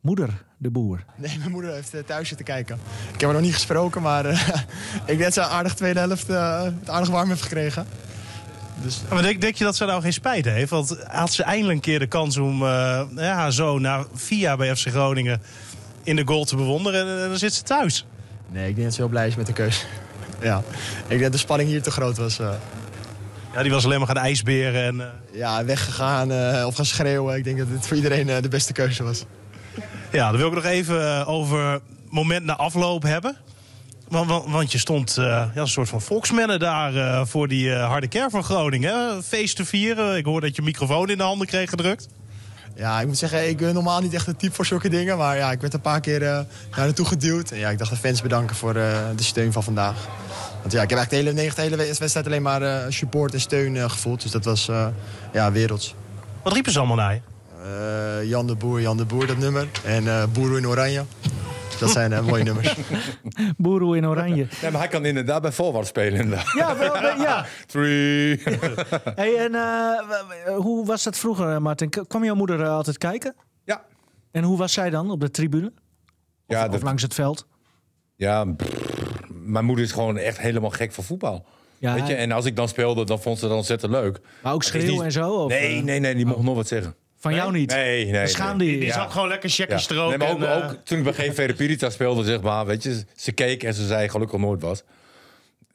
Speaker 3: moeder de boer?
Speaker 6: Nee, mijn moeder heeft eh, thuis zitten kijken. Ik heb haar nog niet gesproken, maar eh, <laughs> ik denk dat ze een aardig tweede helft eh, het aardig warm heeft gekregen. Dus
Speaker 5: Maar denk, denk je dat ze nou geen spijt heeft? Want had ze eindelijk een keer de kans om eh, nou ja, haar zoon na vier jaar bij FC Groningen in de goal te bewonderen. En, dan zit ze thuis.
Speaker 6: nee, ik denk dat ze heel blij is met de keus. <laughs> ja, ik denk dat de spanning hier te groot was. eh.
Speaker 5: Ja, die was alleen maar gaan ijsberen. En, eh,
Speaker 6: ja, weggegaan eh, of gaan schreeuwen. Ik denk dat dit voor iedereen eh, de beste keuze was.
Speaker 5: ja, dan wil ik nog even eh, over het moment na afloop hebben. Want, want, want je stond eh, ja, een soort van volksmenner daar eh, voor die eh, harde kern van Groningen. hè? Feest te vieren. Ik hoor dat je microfoon in de handen kreeg gedrukt.
Speaker 6: Ja, ik moet zeggen, ik ben normaal niet echt het type voor zulke dingen. Maar ja, ik werd een paar keer eh, naar naartoe geduwd. En ja, ik dacht de fans bedanken voor eh, de steun van vandaag. Want ja, ik heb eigenlijk de hele, negen- de hele wedstrijd alleen maar eh, support en steun eh, gevoeld. Dus dat was eh, ja, werelds.
Speaker 5: Wat riepen ze allemaal naar je?
Speaker 6: Eh, Jan de Boer, Jan de Boer, dat nummer. En eh Boer in Oranje. Dat zijn eh, mooie nummers.
Speaker 3: Boeroe in oranje.
Speaker 4: Nee, maar hij kan inderdaad bij voorwaarts spelen. Inderdaad.
Speaker 3: Ja, wel, wel, ja. <laughs>
Speaker 4: Three.
Speaker 3: Hey, en eh, w- w- hoe was dat vroeger, eh, Martin? K- Kwam jouw moeder eh, altijd kijken?
Speaker 4: Ja.
Speaker 3: En hoe was zij dan op de tribune?
Speaker 4: Ja,
Speaker 3: Of
Speaker 4: dat,
Speaker 3: langs het veld?
Speaker 4: ja pff, mijn moeder is gewoon echt helemaal gek van voetbal.
Speaker 3: Ja,
Speaker 4: Weet je? En als ik dan speelde, dan vond ze dat ontzettend leuk.
Speaker 3: maar ook
Speaker 4: is
Speaker 3: schreeuwen
Speaker 4: niet-
Speaker 3: en zo? Of,
Speaker 4: Nee,
Speaker 3: eh,
Speaker 4: nee, nee, die mocht nog wat zeggen.
Speaker 3: Van jou niet?
Speaker 4: Nee, nee. nee.
Speaker 3: Schaamde je
Speaker 5: Die
Speaker 3: je?
Speaker 4: Ja.
Speaker 5: zat gewoon lekker
Speaker 4: Ja.
Speaker 5: checkjes
Speaker 4: Nee,
Speaker 5: erook.
Speaker 4: maar ook,
Speaker 5: en, eh,
Speaker 4: ook toen ik bij GV Pirita speelde, zeg maar, weet je, ze keek en ze zei gelukkig nooit wat.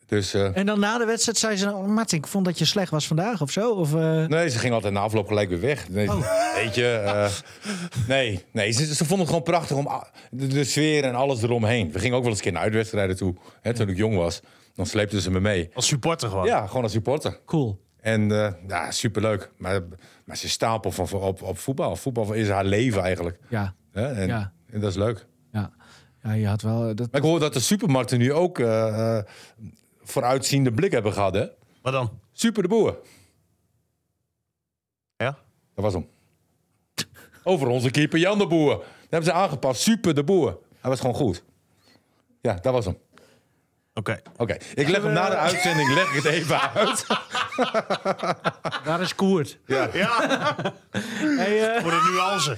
Speaker 4: Dus eh,
Speaker 3: En dan na de wedstrijd zei ze, oh, Martin, ik vond dat je slecht was vandaag of zo? Of, eh,
Speaker 4: nee, ze ging altijd na afloop gelijk weer weg. Nee,
Speaker 5: Oh.
Speaker 4: Weet je, eh, nee, nee ze, ze vonden het gewoon prachtig om a- de, de sfeer en alles eromheen. We gingen ook wel eens een keer naar uitwedstrijden toe, hè, toen ik jong was. Dan sleepten ze me mee.
Speaker 5: Als supporter gewoon.
Speaker 4: Ja, gewoon als supporter.
Speaker 3: Cool.
Speaker 4: En eh ja, superleuk. Maar, maar ze stapel van, op, op voetbal. Voetbal is haar leven eigenlijk.
Speaker 3: Ja,
Speaker 4: Hè, en,
Speaker 3: Ja.
Speaker 4: en dat is leuk.
Speaker 3: ja. ja je had wel... eh, Dat...
Speaker 4: Maar ik hoor dat de supermarkten nu ook eh, eh, vooruitziende blik hebben gehad, hè?
Speaker 5: Wat dan?
Speaker 4: Super de boer.
Speaker 5: Ja?
Speaker 4: Dat was hem. Over onze keeper Jan de Boer. Dat hebben ze aangepast. Super de Boer. Hij was gewoon goed. Ja, dat was hem.
Speaker 5: Oké.
Speaker 4: Oké, ik leg hem na de uitzending leg ik het even
Speaker 5: <laughs>
Speaker 4: uit.
Speaker 3: Daar is
Speaker 4: <laughs>
Speaker 5: <laughs>
Speaker 3: Koert.
Speaker 5: Ja,
Speaker 3: Hey, eh,
Speaker 5: voor de nuance.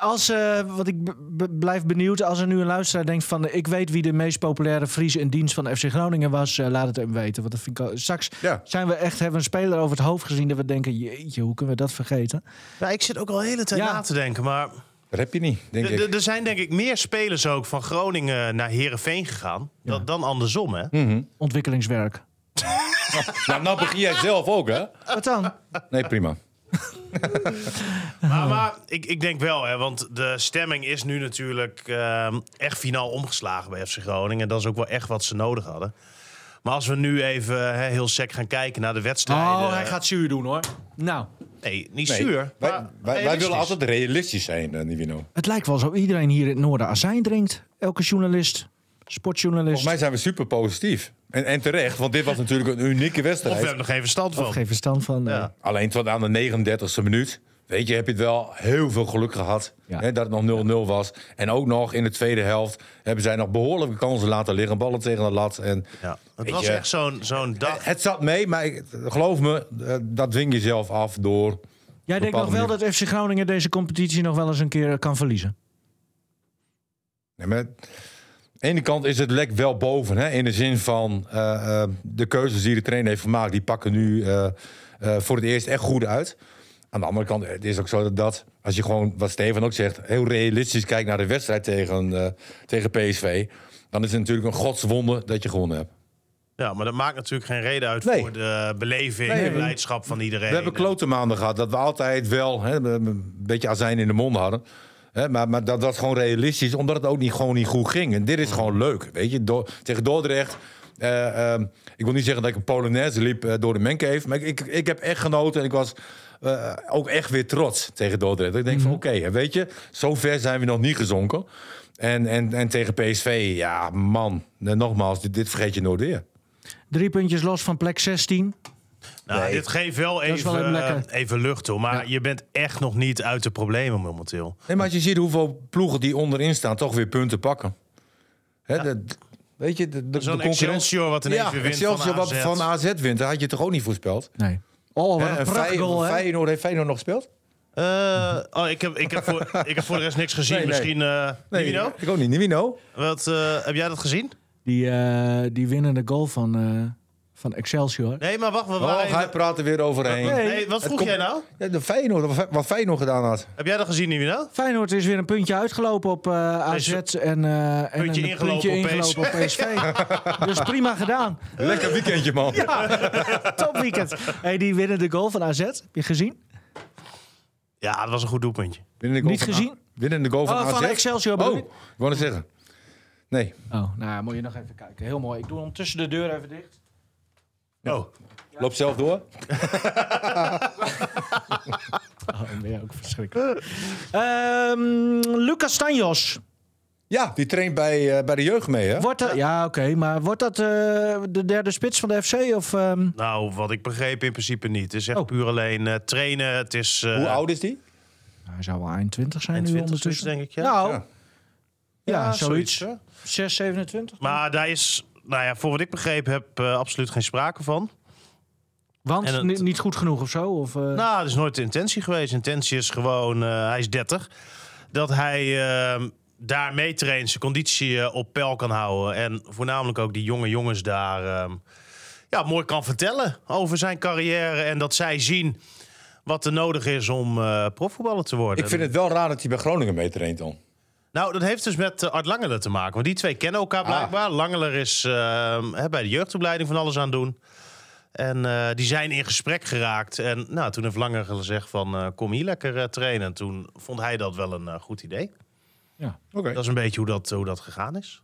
Speaker 3: als, eh wat ik b- b- blijf benieuwd, als er nu een luisteraar denkt van... eh, ik weet wie de meest populaire Fries in dienst van FC Groningen was... eh, laat het hem weten, want dat vind ik... al- Straks
Speaker 4: Ja.
Speaker 3: zijn we echt, hebben we een speler over het hoofd gezien... dat we denken, jeetje, hoe kunnen we dat vergeten?
Speaker 5: Nou, ik zit ook al de hele tijd
Speaker 3: Ja.
Speaker 5: na te denken, maar
Speaker 4: Dat heb je niet, denk
Speaker 5: er-
Speaker 4: ik.
Speaker 5: er- er zijn denk ik meer spelers ook van Groningen naar Herenveen gegaan dan, dan andersom, hè?
Speaker 3: Ontwikkelingswerk.
Speaker 4: Nou, nou begin jij zelf ook, hè?
Speaker 3: Wat dan?
Speaker 4: Nee, prima.
Speaker 5: Maar, maar ik, ik denk wel, hè, want de stemming is nu natuurlijk ehm, echt finaal omgeslagen bij FC Groningen. En dat is ook wel echt wat ze nodig hadden. Maar als we nu even hè, heel sec gaan kijken naar de wedstrijden.
Speaker 3: Oh, hij gaat zuur doen, hoor. Nou,
Speaker 5: Nee, niet
Speaker 4: Nee,
Speaker 5: zuur. maar
Speaker 4: Wij, wij, wij
Speaker 5: realistisch.
Speaker 4: willen altijd realistisch zijn, eh, Nivino.
Speaker 3: het lijkt wel alsof iedereen hier in het noorden azijn drinkt. Elke journalist, sportjournalist.
Speaker 4: Volgens mij zijn we super positief. En, en terecht, want dit was natuurlijk een unieke
Speaker 5: Of we
Speaker 4: wedstrijd.
Speaker 5: hebben er geen verstand
Speaker 3: Of
Speaker 5: van.
Speaker 3: geen verstand van. eh,
Speaker 5: Ja.
Speaker 4: Alleen tot aan de 39e minuut. Weet je, heb je het wel heel veel geluk gehad
Speaker 3: Ja.
Speaker 4: hè, dat het nog 0-0 was. En ook nog in de tweede helft hebben zij nog behoorlijke kansen laten liggen. Ballen tegen de lat. En
Speaker 5: Ja, het
Speaker 4: Weet
Speaker 5: was
Speaker 4: je,
Speaker 5: echt zo'n zo'n dag.
Speaker 4: het, het zat mee, maar ik- geloof me, eh, dat dwing je zelf af door...
Speaker 3: Jij denkt nog
Speaker 4: bepaalde
Speaker 3: wel dat FC Groningen deze competitie nog wel eens een keer kan verliezen.
Speaker 4: Nee, maar aan de ene kant is het lek wel boven. Hè? In de zin van eh, eh, de keuzes die de trainer heeft gemaakt, die pakken nu eh, eh, voor het eerst echt goed uit. Aan de andere kant eh, het is ook zo dat, dat als je gewoon, wat Steven ook zegt, heel realistisch kijkt naar de wedstrijd tegen, eh, tegen PSV, dan is het natuurlijk een godswonde dat je gewonnen hebt.
Speaker 5: Ja, maar dat maakt natuurlijk geen reden uit
Speaker 4: Nee.
Speaker 5: voor de beleving
Speaker 4: Nee,
Speaker 5: en
Speaker 4: we-
Speaker 5: blijdschap van iedereen.
Speaker 4: We hebben klote maanden gehad. Dat we altijd wel hè, een beetje azijn in de mond hadden. Hè, maar, maar dat was gewoon realistisch. Omdat het ook niet, gewoon niet goed ging. En dit is gewoon leuk. Weet je, Do- tegen Dordrecht. eh, ehm, ik wil niet zeggen dat ik een Polonaise liep eh, door de Mencave. Maar ik, ik, ik heb echt genoten. En ik was eh, ook echt weer trots tegen Dordrecht. Ik denk van oké, hè, weet je. Zo ver zijn we nog niet gezonken. En, en, en tegen PSV, ja man. eh, Nogmaals, dit, dit vergeet je nooit weer.
Speaker 3: Drie puntjes los van plek 16.
Speaker 5: Nou, Dit geeft wel
Speaker 3: is wel
Speaker 5: even,
Speaker 3: even lekker.
Speaker 5: eh, even lucht toe. Maar je bent echt nog niet uit de problemen momenteel.
Speaker 4: Nee, maar als je ziet hoeveel ploegen die onderin staan toch weer punten pakken. Hè, dat- weet je, de, de, de
Speaker 5: Zo'n
Speaker 4: concurrentie...
Speaker 5: Excelsior wat ineens
Speaker 4: ja,
Speaker 5: weer wint
Speaker 4: Excelsior
Speaker 5: van
Speaker 4: wat
Speaker 5: AZ.
Speaker 4: van AZ wint, dat had je toch ook niet voorspeld?
Speaker 3: Nee. Oh, wat
Speaker 4: Hè,
Speaker 3: een
Speaker 4: en
Speaker 3: prachtgoal,
Speaker 4: Fey-
Speaker 3: hè?
Speaker 4: Feyenoord, heeft Feyenoord nog gespeeld?
Speaker 5: Eh, oh, ik, heb, ik, heb voor,
Speaker 4: <laughs>
Speaker 5: ik heb voor de rest niks gezien.
Speaker 4: Nee, nee.
Speaker 5: Misschien. eh Nivino?
Speaker 4: ik ook niet. Nivino?
Speaker 5: Wat, eh, heb jij dat gezien?
Speaker 3: Die, eh, die winnende goal van, eh, van Excelsior.
Speaker 5: Nee, maar wacht. We
Speaker 4: Oh,
Speaker 5: waren
Speaker 4: hij praat er weer overheen.
Speaker 5: nee, wat vroeg
Speaker 4: komt-
Speaker 5: jij nou?
Speaker 4: Ja, de Feyenoord, wat- wat Feyenoord gedaan had.
Speaker 5: Heb jij dat gezien, Nivino?
Speaker 3: Feyenoord is weer een puntje uitgelopen op eh, AZ en, eh, en
Speaker 5: Puntje
Speaker 3: een
Speaker 5: ingelopen
Speaker 3: puntje
Speaker 5: op
Speaker 3: ingelopen op PSV. dus prima
Speaker 5: <laughs>
Speaker 3: gedaan.
Speaker 4: Lekker weekendje, man.
Speaker 3: Top weekend. Hey, die winnende goal van AZ, heb je gezien?
Speaker 5: Ja, dat was een goed doelpuntje.
Speaker 4: Winnende goal
Speaker 3: Niet
Speaker 4: van A-
Speaker 3: gezien?
Speaker 4: Winnende goal van
Speaker 3: Oh,
Speaker 4: AZ.
Speaker 3: van Excelsior bedoel
Speaker 4: Oh,
Speaker 3: je?
Speaker 4: ik wou het zeggen. Nee.
Speaker 3: Oh, nou moet je nog even kijken. Heel mooi. Ik doe ondertussen de deur even dicht.
Speaker 5: Oh,
Speaker 4: Loop zelf door.
Speaker 3: Oh, dan ben je ook verschrikkelijk. Ehm, Lucas Tanjos.
Speaker 4: Ja, die traint bij, eh, bij de jeugd mee, hè?
Speaker 3: Wordt dat, ja, oké. maar wordt dat eh, de derde spits van de FC? Of, ehm,
Speaker 5: nou, wat ik begreep in principe niet. Het is echt
Speaker 3: Oh.
Speaker 5: puur alleen eh, trainen. Het is. eh,
Speaker 4: Hoe oud is die?
Speaker 3: hij zou wel eind 20 zijn
Speaker 5: Eind
Speaker 3: nu
Speaker 5: 20
Speaker 3: ondertussen.
Speaker 5: dus, denk ik, ja.
Speaker 3: Nou,
Speaker 4: Ja.
Speaker 3: ja,
Speaker 5: ja,
Speaker 3: zoiets.
Speaker 5: hè?
Speaker 3: 6, 27.
Speaker 5: Maar daar is, nou ja, voor wat ik begrepen heb, eh, absoluut geen sprake van.
Speaker 3: Want
Speaker 5: en het-
Speaker 3: ni- niet goed genoeg of zo? Of, eh,
Speaker 5: Nou, dat is nooit de intentie geweest. De intentie is gewoon, eh, hij is 30, dat hij eh, daar mee traint, zijn conditie eh, op peil kan houden. En voornamelijk ook die jonge jongens daar eh, ja, mooi kan vertellen over zijn carrière. En dat zij zien wat er nodig is om eh profvoetballer te worden.
Speaker 4: Ik vind het wel raar dat hij bij Groningen mee traint, dan.
Speaker 5: Nou, dat heeft dus met eh, Art Langelen te maken. Want die twee kennen elkaar blijkbaar. Langeler is eh, hè, bij de jeugdopleiding van alles aan het doen. En eh, die zijn in gesprek geraakt. En nou, toen heeft Langer gezegd van eh, kom hier lekker eh, trainen. En toen vond hij dat wel een eh, goed idee.
Speaker 4: Oké.
Speaker 5: Dat is een beetje hoe dat, hoe dat gegaan is.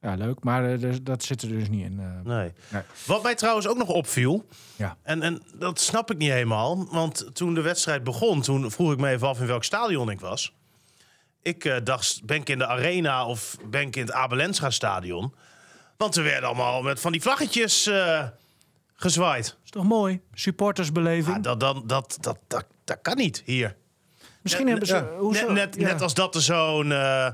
Speaker 3: Ja, leuk. Maar eh, dus- dat zit er dus niet in. eh.
Speaker 5: Nee.
Speaker 3: Nee.
Speaker 5: Wat mij trouwens ook nog opviel.
Speaker 3: Ja.
Speaker 5: En, en dat snap ik niet helemaal. Want toen de wedstrijd begon, toen vroeg ik me even af in welk stadion ik was. Ik eh, dacht, ben ik in de arena of ben ik in het Abelensra stadion? Want er werden allemaal met van die vlaggetjes eh, gezwaaid.
Speaker 3: Is toch mooi? Supportersbeleving.
Speaker 5: Ja, dat, dan dat, dat, dat, dat kan niet hier.
Speaker 3: Misschien
Speaker 5: net-
Speaker 3: hebben ze...
Speaker 5: Net,
Speaker 3: hoezo?
Speaker 5: net,
Speaker 3: Ja.
Speaker 5: net als dat er zo'n eh,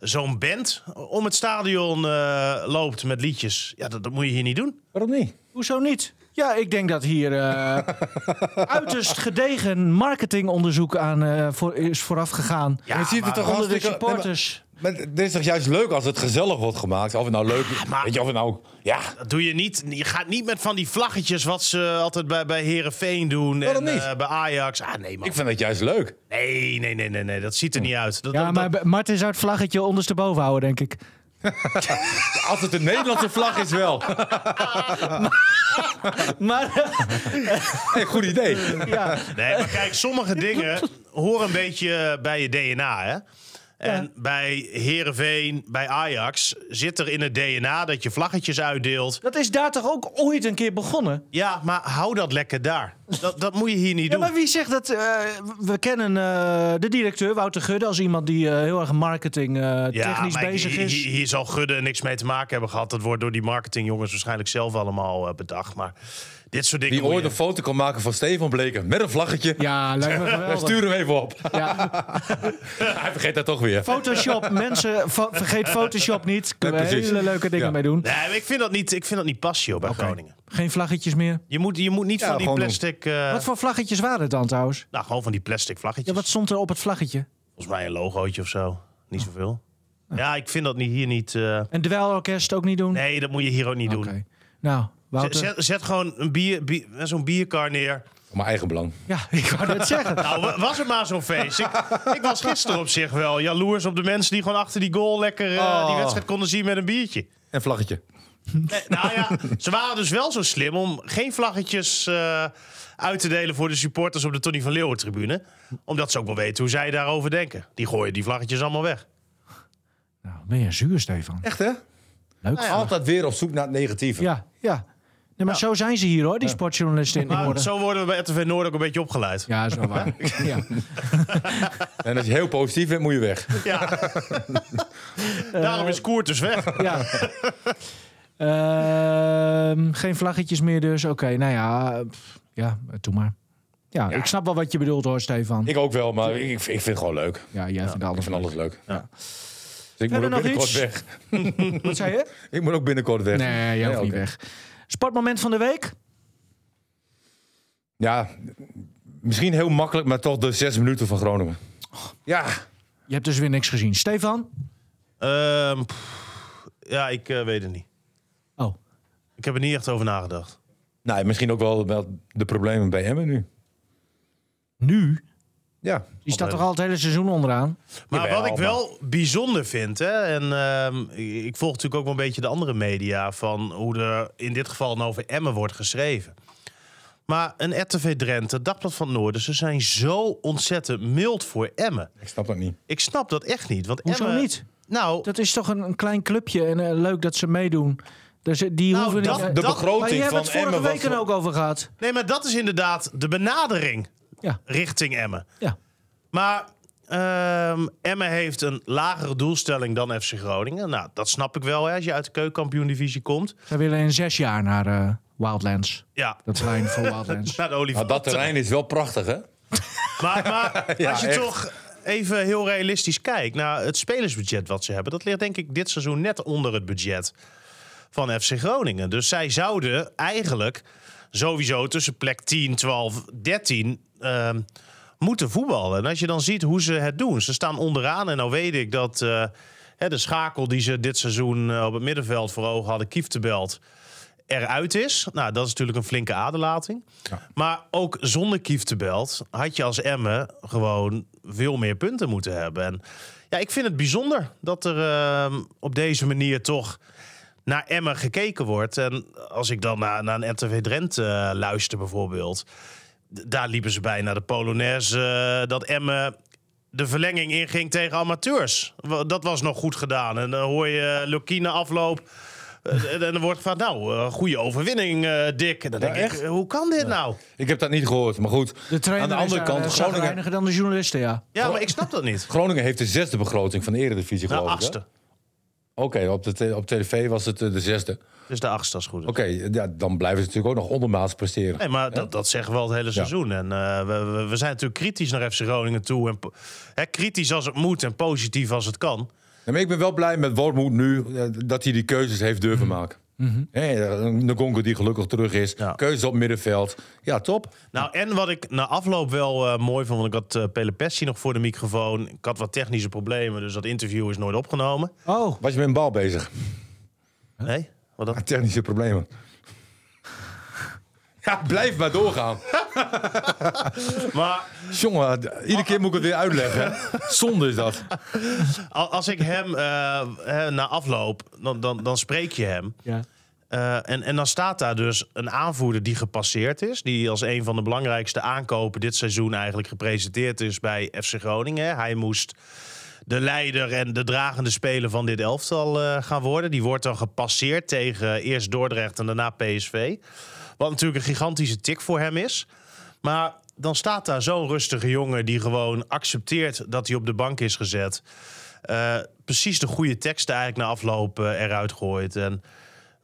Speaker 5: zo'n band om het stadion eh, loopt met liedjes. Ja, dat, dat moet je hier niet doen.
Speaker 4: Waarom niet?
Speaker 3: Hoezo niet? Ja, ik denk dat hier eh, uiterst gedegen marketingonderzoek aan eh, voor, is vooraf gegaan.
Speaker 5: Ja,
Speaker 4: je ziet
Speaker 5: maar-
Speaker 4: het toch
Speaker 3: onder de
Speaker 4: hartstikke...
Speaker 3: supporters.
Speaker 4: Nee, maar- maar dit is toch juist leuk als het gezellig wordt gemaakt? Of het nou leuk is.
Speaker 5: maar-
Speaker 4: Weet je, of het nou... Ja,
Speaker 5: Dat doe je niet. Je gaat niet met van die vlaggetjes wat ze altijd bij, bij Herenveen doen.
Speaker 4: Waarom
Speaker 5: en
Speaker 4: niet?
Speaker 5: eh, bij Ajax. Ah, nee, man.
Speaker 4: ik vind het juist leuk.
Speaker 5: Nee, nee, nee, nee, nee. Dat ziet er niet uit. Dat,
Speaker 3: Ja,
Speaker 5: dat-
Speaker 3: maar B- Martin zou het vlaggetje ondersteboven houden, denk ik.
Speaker 4: Als het een Nederlandse vlag is wel. <laughs>
Speaker 3: Maar <laughs>
Speaker 4: Hey, goed idee.
Speaker 3: ja,
Speaker 5: nee, maar kijk,
Speaker 3: <laughs>
Speaker 5: sommige dingen horen een beetje bij je DNA, hè? En bij Herenveen, bij Ajax zit er in het DNA dat je vlaggetjes uitdeelt.
Speaker 3: dat is daar toch ook ooit een keer begonnen?
Speaker 5: Ja, maar hou dat lekker daar. Dat, dat moet je hier niet
Speaker 3: Ja,
Speaker 5: doen.
Speaker 3: maar wie zegt dat? eh, we kennen eh, de directeur, Wouter Gudde, als iemand die eh, heel erg marketing eh, technisch
Speaker 5: maar
Speaker 3: bezig
Speaker 5: hier,
Speaker 3: is.
Speaker 5: Hier, hier zal Gudde niks mee te maken hebben gehad. Dat wordt door die marketingjongens waarschijnlijk zelf allemaal eh, bedacht. Maar dit soort dingen.
Speaker 4: Die
Speaker 5: moet
Speaker 4: ooit
Speaker 5: je-
Speaker 4: een foto kan maken van Stefan Bleken met een vlaggetje.
Speaker 3: Ja, lijkt me
Speaker 4: Wij
Speaker 3: geweldig.
Speaker 4: sturen hem even op. <laughs>
Speaker 3: Ja.
Speaker 4: Hij vergeet dat toch weer.
Speaker 5: <laughs>
Speaker 3: Photoshop, mensen, fo- vergeet Photoshop niet. Kunnen we
Speaker 4: Nee, precies.
Speaker 3: hele leuke dingen
Speaker 4: Ja.
Speaker 3: mee doen.
Speaker 5: Nee, maar ik vind dat niet, ik vind dat niet passen joh, bij Groningen.
Speaker 3: Geen vlaggetjes meer.
Speaker 5: Je moet, je moet niet
Speaker 4: Ja,
Speaker 5: van die
Speaker 4: gewoon doen.
Speaker 5: plastic... eh,
Speaker 3: Wat voor vlaggetjes waren het dan trouwens?
Speaker 5: Nou, gewoon van die plastic
Speaker 3: Ja,
Speaker 5: vlaggetjes.
Speaker 3: wat Oh. stond er op het vlaggetje?
Speaker 5: Volgens mij een logootje of zo. Niet zoveel. Ja, ik vind dat niet, hier niet... eh,
Speaker 3: En dweilorkest ook niet doen?
Speaker 5: Nee, dat moet je hier ook niet
Speaker 3: Oké.
Speaker 5: doen.
Speaker 3: Nou,
Speaker 5: Zet,
Speaker 3: Wouter.
Speaker 5: zet- zet gewoon een bier, bier- zo'n bierkar neer.
Speaker 4: Mijn eigen belang.
Speaker 3: Ja, ik wou net zeggen.
Speaker 5: Nou, wa- was het maar zo'n feest. Ik, ik was gisteren op zich
Speaker 3: Oh.
Speaker 5: wel jaloers op de mensen die gewoon achter die goal lekker eh, die wedstrijd konden zien met een biertje.
Speaker 4: En vlaggetje.
Speaker 5: Nee, nou ja, ze waren dus wel zo slim om geen vlaggetjes eh, uit te delen voor de supporters op de Tony van Leeuwen tribune. Omdat ze ook wel weten hoe zij daarover denken. Die gooien die vlaggetjes allemaal weg.
Speaker 3: <laughs> Nou, ben je zuur, Stefan.
Speaker 4: Echt, hè?
Speaker 3: Leuk. Ja,
Speaker 4: Altijd weer op zoek naar het negatieve.
Speaker 3: ja. Nee, maar zo zijn ze hier, hoor, die sportjournalisten in
Speaker 5: Maar
Speaker 3: orde.
Speaker 5: Nou. zo worden we bij RTV Noord ook een beetje opgeleid.
Speaker 3: Ja, zo waar.
Speaker 5: <laughs>
Speaker 3: ja.
Speaker 4: En als je heel positief bent, moet je weg.
Speaker 5: Ja. Daarom is Koert dus weg.
Speaker 3: ja. <laughs> Ehm, geen vlaggetjes meer dus. Oké, nou ja. pff, Ja, eh, doe maar. Ja, ik snap wel wat je bedoelt hoor, Stefan.
Speaker 4: Ik ook wel, maar ik, ik vind het gewoon leuk.
Speaker 3: ja, jij vindt
Speaker 4: Ik
Speaker 3: alles
Speaker 4: vind
Speaker 3: leuk.
Speaker 4: alles leuk.
Speaker 5: Ja.
Speaker 4: Dus ik moet
Speaker 3: Verder
Speaker 4: ook
Speaker 3: nog
Speaker 4: binnenkort
Speaker 3: iets?
Speaker 4: weg.
Speaker 3: Wat zei je?
Speaker 4: Ik moet ook binnenkort weg.
Speaker 3: Nee, jij hoeft
Speaker 4: <laughs> Ja,
Speaker 3: niet
Speaker 4: oké.
Speaker 3: weg. Sportmoment van de week?
Speaker 4: Ja, misschien heel makkelijk, maar toch de zes minuten van Groningen. Ja,
Speaker 3: Je hebt dus weer niks gezien. Stefan?
Speaker 5: Ehm, pff, ja, ik eh, weet het niet.
Speaker 3: Oh,
Speaker 5: Ik heb er niet echt over nagedacht.
Speaker 4: nou, misschien ook wel, wel de problemen bij Emmen nu.
Speaker 3: nu?
Speaker 4: Ja,
Speaker 3: Die staat toch al het hele seizoen onderaan?
Speaker 5: Maar
Speaker 4: Jawel,
Speaker 5: wat ik wel bijzonder vind, hè, en ehm, ik- ik volg natuurlijk ook wel een beetje de andere media van hoe er in dit geval dan over Emmen wordt geschreven. Maar een RTV Drenthe, Dagblad van het Noorden, ze zijn zo ontzettend mild voor Emmen.
Speaker 4: ik snap dat niet.
Speaker 5: Ik snap dat echt niet. Want
Speaker 3: Hoezo
Speaker 5: Emmen,
Speaker 3: niet?
Speaker 5: Nou,
Speaker 3: Dat is toch een, een klein clubje en eh, leuk dat ze meedoen. Dus eh, die
Speaker 5: Nou,
Speaker 3: hoeven
Speaker 5: dat-
Speaker 3: niet...
Speaker 4: De
Speaker 5: dat-
Speaker 3: maar je
Speaker 4: begroting
Speaker 3: hebt
Speaker 4: van
Speaker 3: het vorige
Speaker 4: Emmen
Speaker 3: week
Speaker 4: was...
Speaker 3: er ook over gehad.
Speaker 5: nee, maar dat is inderdaad de benadering
Speaker 3: Ja,
Speaker 5: richting Emmen.
Speaker 3: ja.
Speaker 5: Maar ehm Emmen heeft een lagere doelstelling dan FC Groningen. Nou, dat snap ik wel hè, als je uit de keukenkampioen-divisie komt.
Speaker 3: Zij willen in zes jaar naar eh, Wildlands.
Speaker 5: Ja,
Speaker 3: Dat lijn
Speaker 4: <laughs>
Speaker 3: voor Wildlands.
Speaker 5: naar de
Speaker 4: Nou,
Speaker 5: olifant.
Speaker 4: dat terrein is wel prachtig, hè?
Speaker 5: Maar, maar
Speaker 4: <laughs> Ja,
Speaker 5: als je
Speaker 4: echt.
Speaker 5: toch even heel realistisch kijkt naar het spelersbudget wat ze hebben, dat ligt denk ik dit seizoen net onder het budget van FC Groningen. Dus zij zouden eigenlijk sowieso tussen plek 10, 12, 13 ehm, moeten voetballen. En als je dan ziet hoe ze het doen, ze staan onderaan en nou weet ik dat eh, hè, de schakel die ze dit seizoen eh, op het middenveld voor ogen hadden, Kieftebelt, eruit is. Nou, dat is natuurlijk een flinke aderlating. Maar ook zonder Kieftebelt had je als Emmen gewoon veel meer punten moeten hebben. En ja, ik vind het bijzonder dat er ehm, op deze manier toch naar Emmen gekeken wordt. En als ik dan naar, naar een RTV Drenthe eh, luister bijvoorbeeld... d- daar liepen ze bijna de Polonaise, eh, dat Emmen de verlenging inging tegen amateurs. Wa- Dat was nog goed gedaan. En dan hoor je Lokine afloop... eh, En dan wordt gevraagd, nou, eh, goede overwinning, eh Dick. En dan denk ik,
Speaker 4: echt?
Speaker 5: eh, hoe kan dit nou?
Speaker 4: Ik heb dat niet gehoord, maar goed.
Speaker 3: De trainer
Speaker 4: Aan de andere
Speaker 3: is, eh,
Speaker 4: kant, Groningen,
Speaker 3: Groningen... dan de journalisten, ja.
Speaker 5: Ja, maar ik snap dat niet.
Speaker 4: Groningen heeft de zesde begroting van de Eredivisie,
Speaker 5: De
Speaker 4: geloof ik. hè?
Speaker 5: achtste.
Speaker 4: Oké, op, de te- op tv was het eh, de zesde. Oké,
Speaker 5: Dus de achtste als het goed is.
Speaker 4: ja, dan blijven ze natuurlijk ook nog ondermaats presteren.
Speaker 5: Nee, maar dat, dat zeggen we al het hele seizoen. En eh, we, we, we zijn natuurlijk kritisch naar FC Groningen toe. En, po- hè, kritisch als het moet en positief als het kan.
Speaker 4: Ja, maar ik ben wel blij met Wormoed nu eh, dat hij die keuzes heeft durven maken. Hè, een Ngongo die gelukkig terug is.
Speaker 5: Ja.
Speaker 4: Keuzes op middenveld. Ja, top.
Speaker 5: Nou, en wat ik na afloop wel eh, mooi vond, want ik had eh Pele Pessi nog voor de microfoon. Ik had wat technische problemen, dus dat interview is nooit opgenomen.
Speaker 3: Oh,
Speaker 4: Was je met een bal bezig? <laughs>
Speaker 5: Nee? Wat dan?
Speaker 4: Technische problemen. <laughs> Ja, blijf maar doorgaan.
Speaker 5: Maar
Speaker 4: <laughs> Jongen, d- iedere keer moet ik het weer uitleggen. <laughs> hè. Zonde is dat.
Speaker 5: al- als ik hem eh, hè, na afloop, dan, dan, dan spreek je hem.
Speaker 3: ja.
Speaker 5: Eh, en, en dan staat daar dus een aanvoerder die gepasseerd is. Die als een van de belangrijkste aankopen dit seizoen eigenlijk gepresenteerd is bij FC Groningen. Hij moest de leider en de dragende speler van dit elftal eh, gaan worden. Die wordt dan gepasseerd tegen eerst Dordrecht en daarna PSV. Wat natuurlijk een gigantische tik voor hem is. Maar dan staat daar zo'n rustige jongen die gewoon accepteert dat hij op de bank is gezet. Eh, precies de goede teksten eigenlijk na afloop eh, eruit gooit. En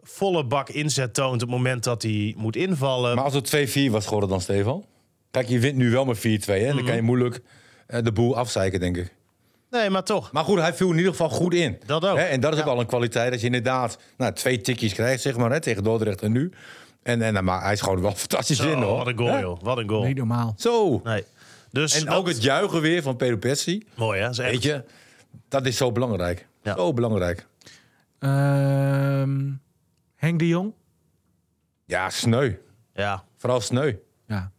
Speaker 5: volle bak inzet toont op het moment dat hij moet invallen.
Speaker 4: Maar als het 2-4 was geworden dan, Stefan? Kijk, je wint nu wel met 4-2. Hè? En dan kan je moeilijk eh, de boel afzeiken, denk ik.
Speaker 5: nee, maar toch.
Speaker 4: Maar goed, hij viel in ieder geval goed in.
Speaker 5: Dat ook.
Speaker 4: Hè, en dat is ook al een kwaliteit. Dat je inderdaad nou, twee tikjes krijgt, zeg maar, hè, tegen Dordrecht en nu. En, en, maar hij is gewoon wel <laughs> fantastisch
Speaker 5: Zo,
Speaker 4: in, hoor.
Speaker 5: Oh, wat een goal,
Speaker 4: Hè?
Speaker 5: joh. Wat een
Speaker 4: Oh.
Speaker 5: goal.
Speaker 3: niet normaal.
Speaker 4: Zo.
Speaker 5: Nee. Dus
Speaker 4: En
Speaker 5: dat-
Speaker 4: ook het juichen weer van Pedro Pessi.
Speaker 5: Mooi, hè? Dat is echt-
Speaker 4: Weet je, dat is zo belangrijk.
Speaker 5: Ja.
Speaker 4: Zo belangrijk.
Speaker 3: Ehm, Henk de Jong?
Speaker 4: Ja, sneu.
Speaker 5: Ja.
Speaker 4: Vooral sneu.
Speaker 3: Ja.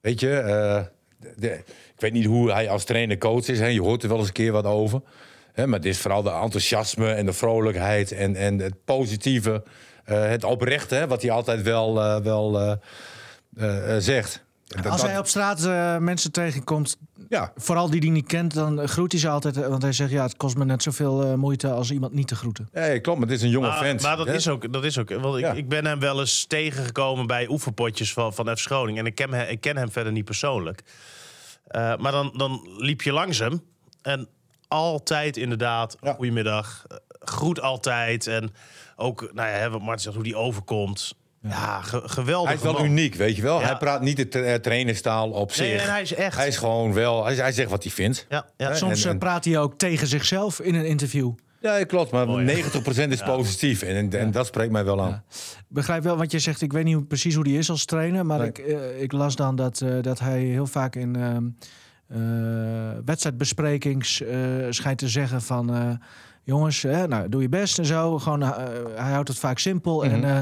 Speaker 4: Weet je, eh, de- de- ik weet niet hoe hij als trainer coach is. Hè. Je hoort er wel eens een keer wat over. Eh, Hè, maar dit is vooral de enthousiasme en de vrolijkheid en, en het positieve. eh, het oprechte, hè, wat hij altijd wel, eh, wel eh, eh, eh, zegt. Dat-
Speaker 3: Als
Speaker 4: dat-
Speaker 3: hij op straat eh, mensen tegenkomt,
Speaker 4: ja,
Speaker 3: vooral die die niet kent, dan groet hij ze altijd. eh, Want hij zegt, ja, het kost me net zoveel eh, moeite als iemand niet te groeten.
Speaker 4: nee, klopt, maar dit is een jonge
Speaker 5: Maar,
Speaker 4: vent.
Speaker 5: maar dat,
Speaker 4: hè.
Speaker 5: is ook, dat is ook. Want ik,
Speaker 4: Ja.
Speaker 5: ik ben hem wel eens tegengekomen bij oefenpotjes van, van F. Schoning. En ik ken, hem- ik ken hem verder niet persoonlijk. Eh, maar dan, dan liep je langs hem. En altijd inderdaad,
Speaker 4: Ja.
Speaker 5: goedemiddag. eh, Groet altijd. En ook, nou ja, hè, wat Martin zegt, hoe die overkomt. Ja, ge- geweldig.
Speaker 4: Hij is wel
Speaker 5: man.
Speaker 4: uniek, weet je wel.
Speaker 5: Ja.
Speaker 4: Hij praat niet de tra- eh, trainerstaal op zich.
Speaker 5: Nee, en hij is echt.
Speaker 4: Hij is gewoon wel, hij, hij zegt wat hij vindt.
Speaker 5: ja, ja,
Speaker 4: Hè?
Speaker 3: Soms
Speaker 4: en-
Speaker 3: eh,
Speaker 4: en-
Speaker 3: praat hij ook tegen zichzelf in een interview.
Speaker 4: Ja, klopt, maar
Speaker 5: Mooi, hè?
Speaker 4: 90% is positief. En, en, en dat spreekt mij wel aan.
Speaker 3: begrijp wel, want je zegt, ik weet niet hoe- precies hoe die is als trainer. Maar
Speaker 4: Nee.
Speaker 3: ik, eh, ik las dan dat, eh, dat hij heel vaak in ehm, eh, wedstrijdbesprekings eh, schijnt te zeggen van... eh, Jongens, hè, nou, doe je best en zo. Gewoon, eh, hij houdt het vaak simpel.
Speaker 4: Mhm.
Speaker 3: En eh,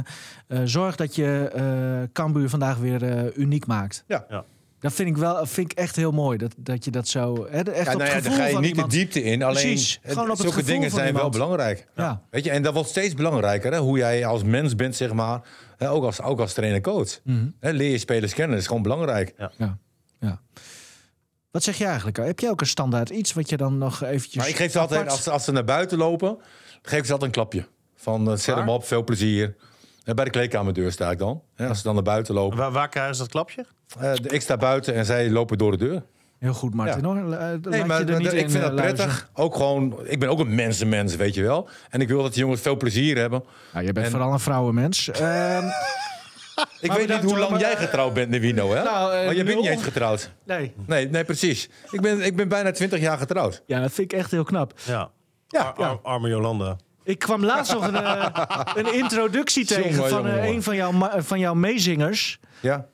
Speaker 3: eh, zorg dat je eh Cambuur vandaag weer eh, uniek maakt.
Speaker 4: Ja.
Speaker 5: Ja.
Speaker 3: Dat vind ik, wel, vind ik echt heel mooi. Dat, dat je dat zo... Hè, de- echt
Speaker 4: Ja,
Speaker 3: op
Speaker 4: nou
Speaker 3: het gevoel
Speaker 4: ja, daar ga je
Speaker 3: van
Speaker 4: niet
Speaker 3: iemand-
Speaker 4: de diepte in. Alleen
Speaker 3: Precies,
Speaker 4: het-
Speaker 3: gewoon op het
Speaker 4: zulke
Speaker 3: gevoel
Speaker 4: dingen
Speaker 3: van
Speaker 4: zijn wel
Speaker 3: iemand.
Speaker 4: belangrijk.
Speaker 3: Ja.
Speaker 4: Weet je, en dat wordt steeds belangrijker, hè? hoe jij als mens bent, zeg maar. Hè, ook als, ook als trainer-coach.
Speaker 3: Mhm.
Speaker 4: Hè, Leer je spelers kennen, dat is gewoon belangrijk.
Speaker 3: Ja, ja. Wat zeg je eigenlijk? Heb je ook een standaard iets wat je dan nog eventjes...
Speaker 4: Maar ik geef ze altijd,
Speaker 3: apart-
Speaker 4: als, ze- als ze naar buiten lopen, geef ik ze altijd een klapje. Van eh, zet hem op, veel plezier. Eh, Bij de kleedkamerdeur sta ik dan. Hè, als ze dan naar buiten lopen.
Speaker 5: Waar, waar kruist dat klapje?
Speaker 4: Eh, de- ik sta buiten en zij lopen door de deur.
Speaker 3: Heel goed, Martin.
Speaker 4: Ja.
Speaker 3: Hoor. Eh, laat
Speaker 4: Nee, maar
Speaker 3: je er niet
Speaker 4: dat- ik
Speaker 3: in,
Speaker 4: vind
Speaker 3: eh,
Speaker 4: dat prettig.
Speaker 3: luizen.
Speaker 4: Ook gewoon, ik ben ook een mensenmens, weet je wel. En ik wil dat die jongens veel plezier hebben.
Speaker 3: Nou, jij bent
Speaker 4: En-
Speaker 3: vooral een
Speaker 4: <laughs>
Speaker 3: vrouwenmens. Ehm,
Speaker 4: Ik
Speaker 3: Maar
Speaker 4: weet niet
Speaker 3: bedankt,
Speaker 4: hoe lang
Speaker 3: hoor, maar-
Speaker 4: jij getrouwd bent, Nivino, hè?
Speaker 3: Nou, eh,
Speaker 4: maar je bent
Speaker 3: nul.
Speaker 4: niet eens getrouwd.
Speaker 3: nee.
Speaker 4: Nee, nee precies. Ik ben, ik ben bijna 20 jaar getrouwd.
Speaker 3: Ja, dat vind ik echt heel knap.
Speaker 5: Ja.
Speaker 4: Ja,
Speaker 5: Ar- ar- arme Jolanda.
Speaker 3: Ik kwam laatst nog een, eh, een introductie
Speaker 4: <laughs>
Speaker 3: tegen
Speaker 4: Jongen,
Speaker 3: van eh,
Speaker 4: jongen.
Speaker 3: een van jouw, ma- van jouw meezingers.
Speaker 4: Ja.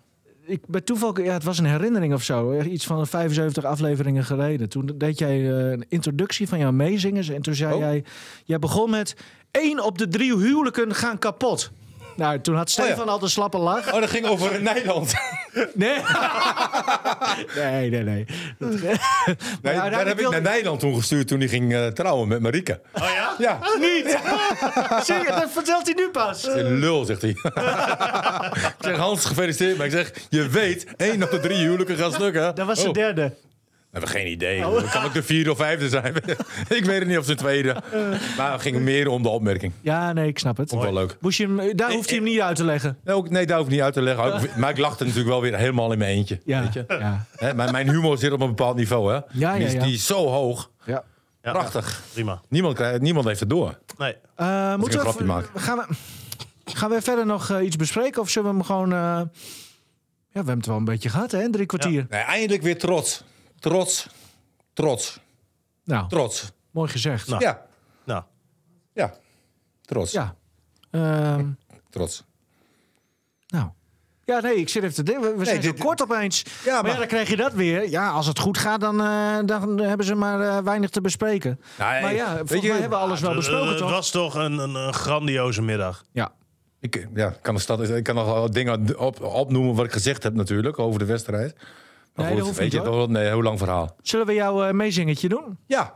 Speaker 3: Ik, bij toeval, ja, het was een herinnering of zo. eh, Iets van 75 afleveringen geleden. Toen deed jij eh, een introductie van jouw meezingers. En toen zei
Speaker 4: Oh.
Speaker 3: jij... Jij begon met... één op de drie huwelijken gaan kapot. Nou, toen had Stefan al de slappe lach.
Speaker 4: Oh, dat ging
Speaker 3: <laughs>
Speaker 4: over Nederland.
Speaker 3: Nou, Nee. nee, nee, nee. <laughs>
Speaker 4: Nee,
Speaker 3: nou,
Speaker 4: daar heb ik naar Nederland toen gestuurd toen hij ging eh, trouwen met Marieke.
Speaker 5: Oh ja?
Speaker 4: Ja,
Speaker 3: <laughs> Zie je, dat vertelt hij nu pas.
Speaker 4: Je lul, zegt hij. <laughs> ik zeg, Hans, gefeliciteerd. Maar ik zeg, je weet, één op de drie huwelijken gaan stuk, hè?
Speaker 3: Dat was
Speaker 4: Oh.
Speaker 3: de derde. Oh.
Speaker 4: We hebben geen idee. Dat kan ook de vierde of vijfde zijn. <laughs> ik weet het niet of ze tweede.
Speaker 3: Eh.
Speaker 4: Maar het ging meer om de opmerking.
Speaker 3: Ja, nee, ik snap het.
Speaker 4: Vond ik wel leuk.
Speaker 3: Moest je hem,
Speaker 4: Eh,
Speaker 3: daar hoeft hij hem niet uit te leggen.
Speaker 4: Nee, ook, nee, daar hoef ik niet uit te
Speaker 3: <laughs>
Speaker 4: leggen. Ook- Maar ik lachte natuurlijk wel weer helemaal in mijn eentje.
Speaker 3: Ja,
Speaker 4: Weet je?
Speaker 3: ja.
Speaker 4: Hè, mijn, mijn humor zit op een bepaald niveau, hè?
Speaker 3: ja,
Speaker 4: Die, is,
Speaker 3: ja.
Speaker 4: die is zo hoog.
Speaker 3: ja.
Speaker 5: Ja,
Speaker 4: Prachtig.
Speaker 5: Prima.
Speaker 4: Niemand, krijgt, niemand heeft het door.
Speaker 5: Nee.
Speaker 3: Eh,
Speaker 4: Moet ik
Speaker 3: moeten
Speaker 4: een
Speaker 3: we
Speaker 4: grapje maken?
Speaker 3: Gaan we, gaan we verder nog eh, iets bespreken? Of zullen we hem gewoon... eh, Ja, we hebben het wel een beetje gehad, hè? Drie kwartier.
Speaker 4: Nee, eindelijk weer trots. Trots. Trots.
Speaker 3: Nou,
Speaker 4: Trots.
Speaker 3: mooi gezegd.
Speaker 5: Nou.
Speaker 4: Ja.
Speaker 5: Nou.
Speaker 4: Ja. Trots.
Speaker 3: Ja. Ehm,
Speaker 4: Trots.
Speaker 3: nou. Ja, nee, ik zit even te denken. We, we zijn
Speaker 4: dit-
Speaker 3: zo kort opeens.
Speaker 4: Ja,
Speaker 3: maar, ja, dan krijg je dat weer. Ja, als het goed gaat, dan, eh, dan hebben ze maar eh, weinig te bespreken.
Speaker 4: Nou,
Speaker 3: Maar
Speaker 4: ik-
Speaker 3: ja,
Speaker 4: weet
Speaker 3: volgens
Speaker 4: je,
Speaker 3: mij hebben we alles
Speaker 4: Eh,
Speaker 3: wel besproken,
Speaker 5: Eh, Het
Speaker 3: toch?
Speaker 5: was toch een, een, een grandioze middag. Oh,
Speaker 3: Ja.
Speaker 4: Ik, ja, ik kan de stad, ik kan nog wel dingen op, opnoemen wat ik gezegd heb natuurlijk over de wedstrijd. Maar
Speaker 3: Nee, dat hoeft
Speaker 4: weet
Speaker 3: niet,
Speaker 4: je,
Speaker 3: hoor.
Speaker 4: dat wordt een heel lang verhaal.
Speaker 3: Zullen we jouw eh, meezingetje doen?
Speaker 4: Ja.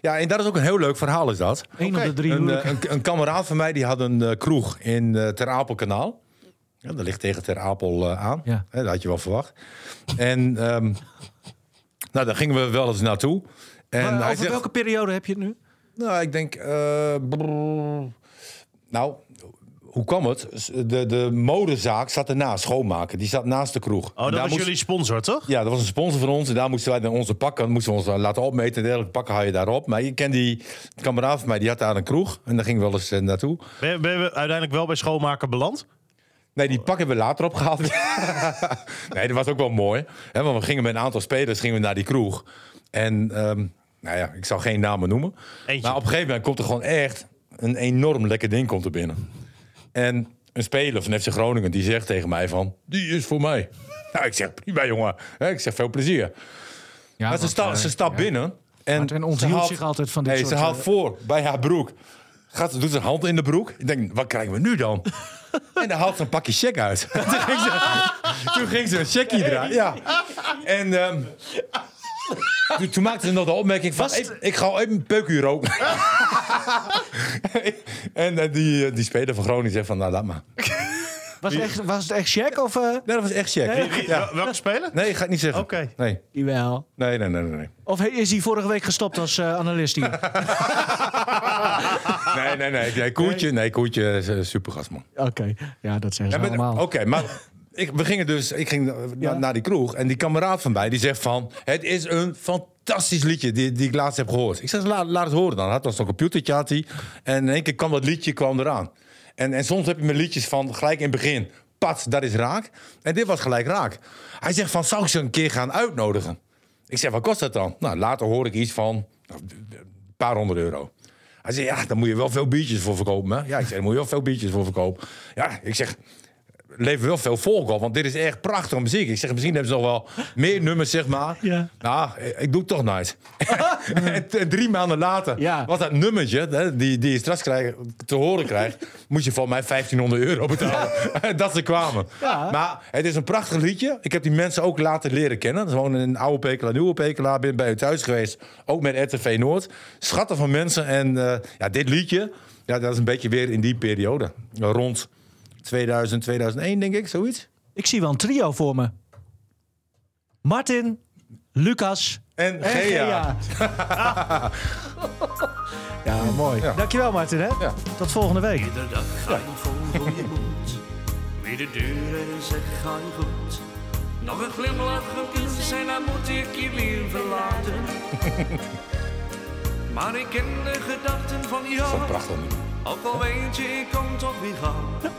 Speaker 4: ja, en dat is ook een heel leuk verhaal is dat.
Speaker 3: Eén op de drie
Speaker 4: Een, eh,
Speaker 3: huwelijken.
Speaker 4: een, een kameraad van mij die had een eh, kroeg in eh Ter Apelkanaal. Ja, dat ligt tegen Ter Apel eh, aan.
Speaker 3: Ja.
Speaker 4: Hè, dat had je wel verwacht. En ehm, nou, daar gingen we wel eens naartoe. En
Speaker 3: Maar
Speaker 4: hij
Speaker 3: over
Speaker 4: zegt,
Speaker 3: welke periode heb je het nu?
Speaker 4: Nou, ik denk. eh, brrr. nou, hoe kwam het? De, de modezaak zat ernaast, schoonmaken. Die zat naast de kroeg. En
Speaker 5: Oh, dat
Speaker 4: daar
Speaker 5: was
Speaker 4: moest-
Speaker 5: jullie sponsor, toch?
Speaker 4: Ja, dat was een sponsor van ons. En daar moesten wij dan onze pakken, moesten we ons eh, laten opmeten. En dergelijke pakken haal je daarop. Maar je kent die kameraad van mij, die had daar een kroeg. En daar ging wel eens eh, naartoe.
Speaker 5: Ben, je- ben je uiteindelijk wel bij schoonmaker beland?
Speaker 4: Nee, die pak hebben we later opgehaald. <laughs> nee, dat was ook wel mooi. Hè, want we gingen met een aantal spelers gingen we naar die kroeg. En ehm, nou ja, ik zal geen namen noemen.
Speaker 5: Eentje.
Speaker 4: Maar op een gegeven moment komt er gewoon echt een enorm lekker ding komt er binnen. En een speler van FC Groningen die zegt tegen mij van... Die is voor mij. Nou, ik zeg prima jongen. Hè, ik zeg veel plezier.
Speaker 3: Ah, eh, Ja,
Speaker 4: maar ze, sta, ze stapt binnen. En
Speaker 3: Martin onthield zich altijd van dit
Speaker 4: nee,
Speaker 3: soort,
Speaker 4: Ze haalt
Speaker 3: eh,
Speaker 4: voor bij haar broek. Gaat, doet zijn hand in de broek. Ik denk, wat krijgen we nu dan? en dan haalt ze een pakje check uit. toen, ging ze, toen ging ze een checkie draaien. Ja. En ehm, toen, toen maakte ze nog de opmerking van... "Hey, ik ga even een peukuur roken. <laughs> en eh, die, eh, die speler van Groningen zegt van, nou, laat maar.
Speaker 3: Was, het echt, was het echt check of... eh
Speaker 4: Nee, dat was echt check.
Speaker 5: Wie-
Speaker 4: Ja.
Speaker 5: wel- Welke speler?
Speaker 4: Nee, ga ik niet zeggen.
Speaker 5: Oké.
Speaker 4: Nee.
Speaker 3: Jawel.
Speaker 4: Nee, nee, nee, nee. nee.
Speaker 3: Of hij- is hij vorige week gestopt als eh, analist
Speaker 4: <laughs>
Speaker 3: hier?
Speaker 4: Nee, nee, nee. nee Koertje, nee, Koertje is eh, supergast, man.
Speaker 3: Oké, ja, dat zeggen ze
Speaker 4: Ja, maar-
Speaker 3: allemaal.
Speaker 4: Oké, maar ik, we gingen dus, ik ging eh, na- naar die kroeg en die kameraad van mij die zegt van, het is een fantastisch liedje die, die ik laatst heb gehoord. Ik zeg, laat, laat het horen dan. Hij had dan zo'n computertje had hij en in één keer kwam dat liedje kwam eraan. En, en soms heb je met liedjes van gelijk in het begin, pat, dat is raak. En dit was gelijk raak. Hij zegt van, zou ik ze een keer gaan uitnodigen? Ik zeg, wat kost dat dan? Nou, later hoor ik iets van nou, een paar honderd euro. Hij zei, ja, daar moet je wel veel biertjes voor verkopen. Hè? Ja, ik zeg, daar moet je wel veel biertjes voor verkopen. Ja, ik zeg, leven wel veel volk op, want dit is echt prachtige muziek. Ik zeg, misschien hebben ze nog wel meer nummers, zeg maar.
Speaker 3: Ja.
Speaker 4: Nou, ik- ik doe het toch
Speaker 3: <laughs>
Speaker 4: nice. <laughs> en, en drie maanden later
Speaker 3: Ja.
Speaker 4: was dat nummertje, hè, die, die je straks krijg, te horen krijgt, <laughs> moest je van mij 1500 euro betalen. <laughs> dat ze kwamen.
Speaker 3: Ja.
Speaker 4: Maar het is een prachtig liedje. Ik heb die mensen ook laten leren kennen. Dat is gewoon een oude Pekela, nieuwe Pekela. Ben bij u thuis geweest. Ook met RTV Noord. Schatten van mensen. En eh, ja, dit liedje, ja, dat is een beetje weer in die periode. Rond 2000, 2001 denk ik, zoiets.
Speaker 3: Ik zie wel een trio voor me. Martin, Lucas
Speaker 4: En,
Speaker 3: en
Speaker 4: Gea.
Speaker 3: Gea. <laughs> ja, mooi. Dankjewel Martin, hè?
Speaker 4: Ja.
Speaker 3: Tot volgende week.
Speaker 7: Iedere dag ga ik vol tegemoet. Wie de deur is, het ga je goed. Nog een glimlach gekust zijn, dan moet ik je weer verlaten. <laughs> Maar ik ken de gedachten van jou.
Speaker 4: Zo'n prachtig nummer.
Speaker 7: Ook al weet je, ik kom toch weer gauw.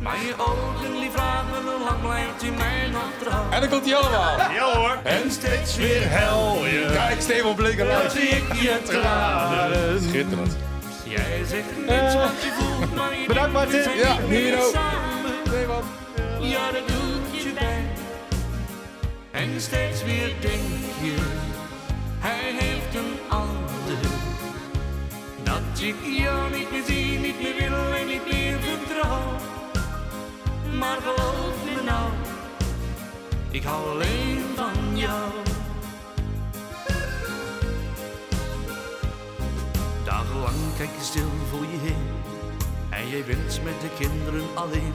Speaker 7: Maar je ogen die vragen, hoe lang blijft u mij nog trouw?
Speaker 4: En dan komt hij allemaal.
Speaker 5: Ja hoor.
Speaker 4: En steeds weer hel je. Kijk, Stefan Blikker.
Speaker 7: Zie ik je tranen.
Speaker 4: Schitterend.
Speaker 7: Jij zegt niets wat je voelt, maar je
Speaker 3: bedankt,
Speaker 7: denkt, we
Speaker 3: Martin.
Speaker 7: zijn
Speaker 4: Ja,
Speaker 7: niet meer
Speaker 4: Nino.
Speaker 7: samen. Ja, dat doet je pijn. En steeds weer denk je, hij heeft een ander. Dat ik jou niet meer zie, niet meer wil en niet meer vertrouw. Maar geloof me nou, ik hou alleen van jou. Dagenlang kijk je stil voor je heen. En jij bent met de kinderen alleen.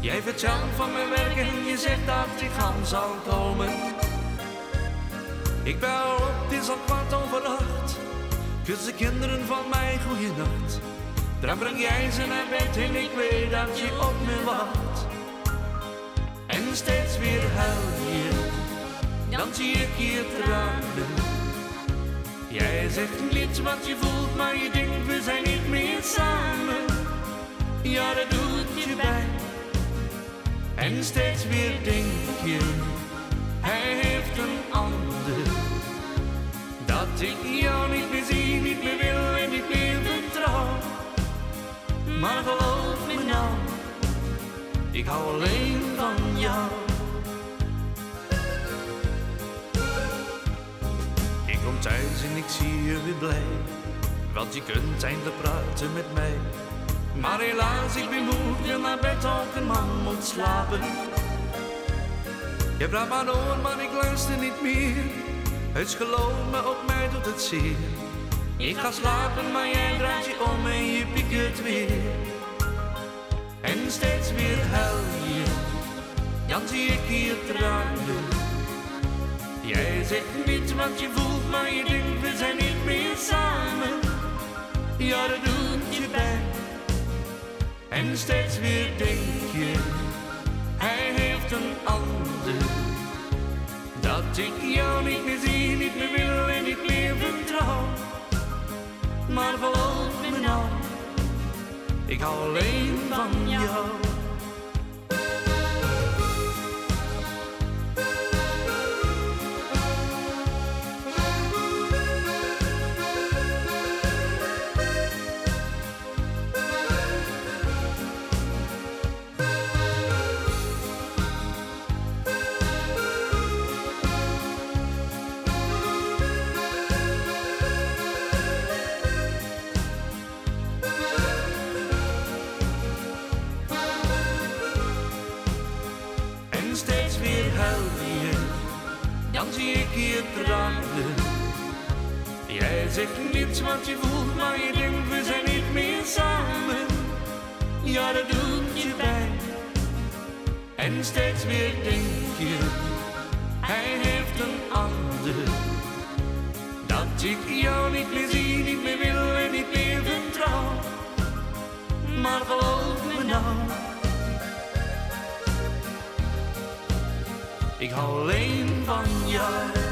Speaker 7: Jij vertelt van mijn werk en je zegt dat ik aan zal komen. Ik bel op, het is al kwart over acht. Kus de kinderen van mij, goeienacht. Dan breng jij ze naar bed en ik weet dat je op me wacht. En steeds weer huil je, dan zie ik je tranen. Jij zegt niets wat je voelt, maar je denkt we zijn niet meer samen. Ja, dat doet je pijn. En steeds weer denk je, hij heeft een ander. Dat ik jou niet meer zie, niet meer wil en niet meer vertrouw. Maar geloof me nou, ik hou alleen van jou. Ik kom thuis en ik zie je weer blij, want je kunt eindelijk praten met mij. Maar helaas, ik ben moe, wil naar bed, ook een man moet slapen. Je praat maar door, maar ik luister niet meer. Het is geloof me, ook mij doet het zeer. Ik ga slapen, maar jij draait je om en je piekert weer. En steeds weer huil je, dan zie ik hier tranen. Jij zegt niet wat je voelt, maar je denkt we zijn niet meer samen. Ja, dat doet je pijn. En steeds weer denk je, hij heeft een ander. Dat ik jou niet meer zie, niet meer wil en niet meer vertrouw. Maar geloof me nou, ik hou alleen van jou. en steeds weer huil je. Dan zie ik je tranen. Jij zegt niets wat je voelt, maar je denkt we zijn niet meer samen. Ja, dat doet je pijn. En steeds weer denk je, hij heeft een ander. Dat ik jou niet meer zie, niet meer wil en niet meer vertrouw. Maar geloof me nou. Ik hou alleen van jou.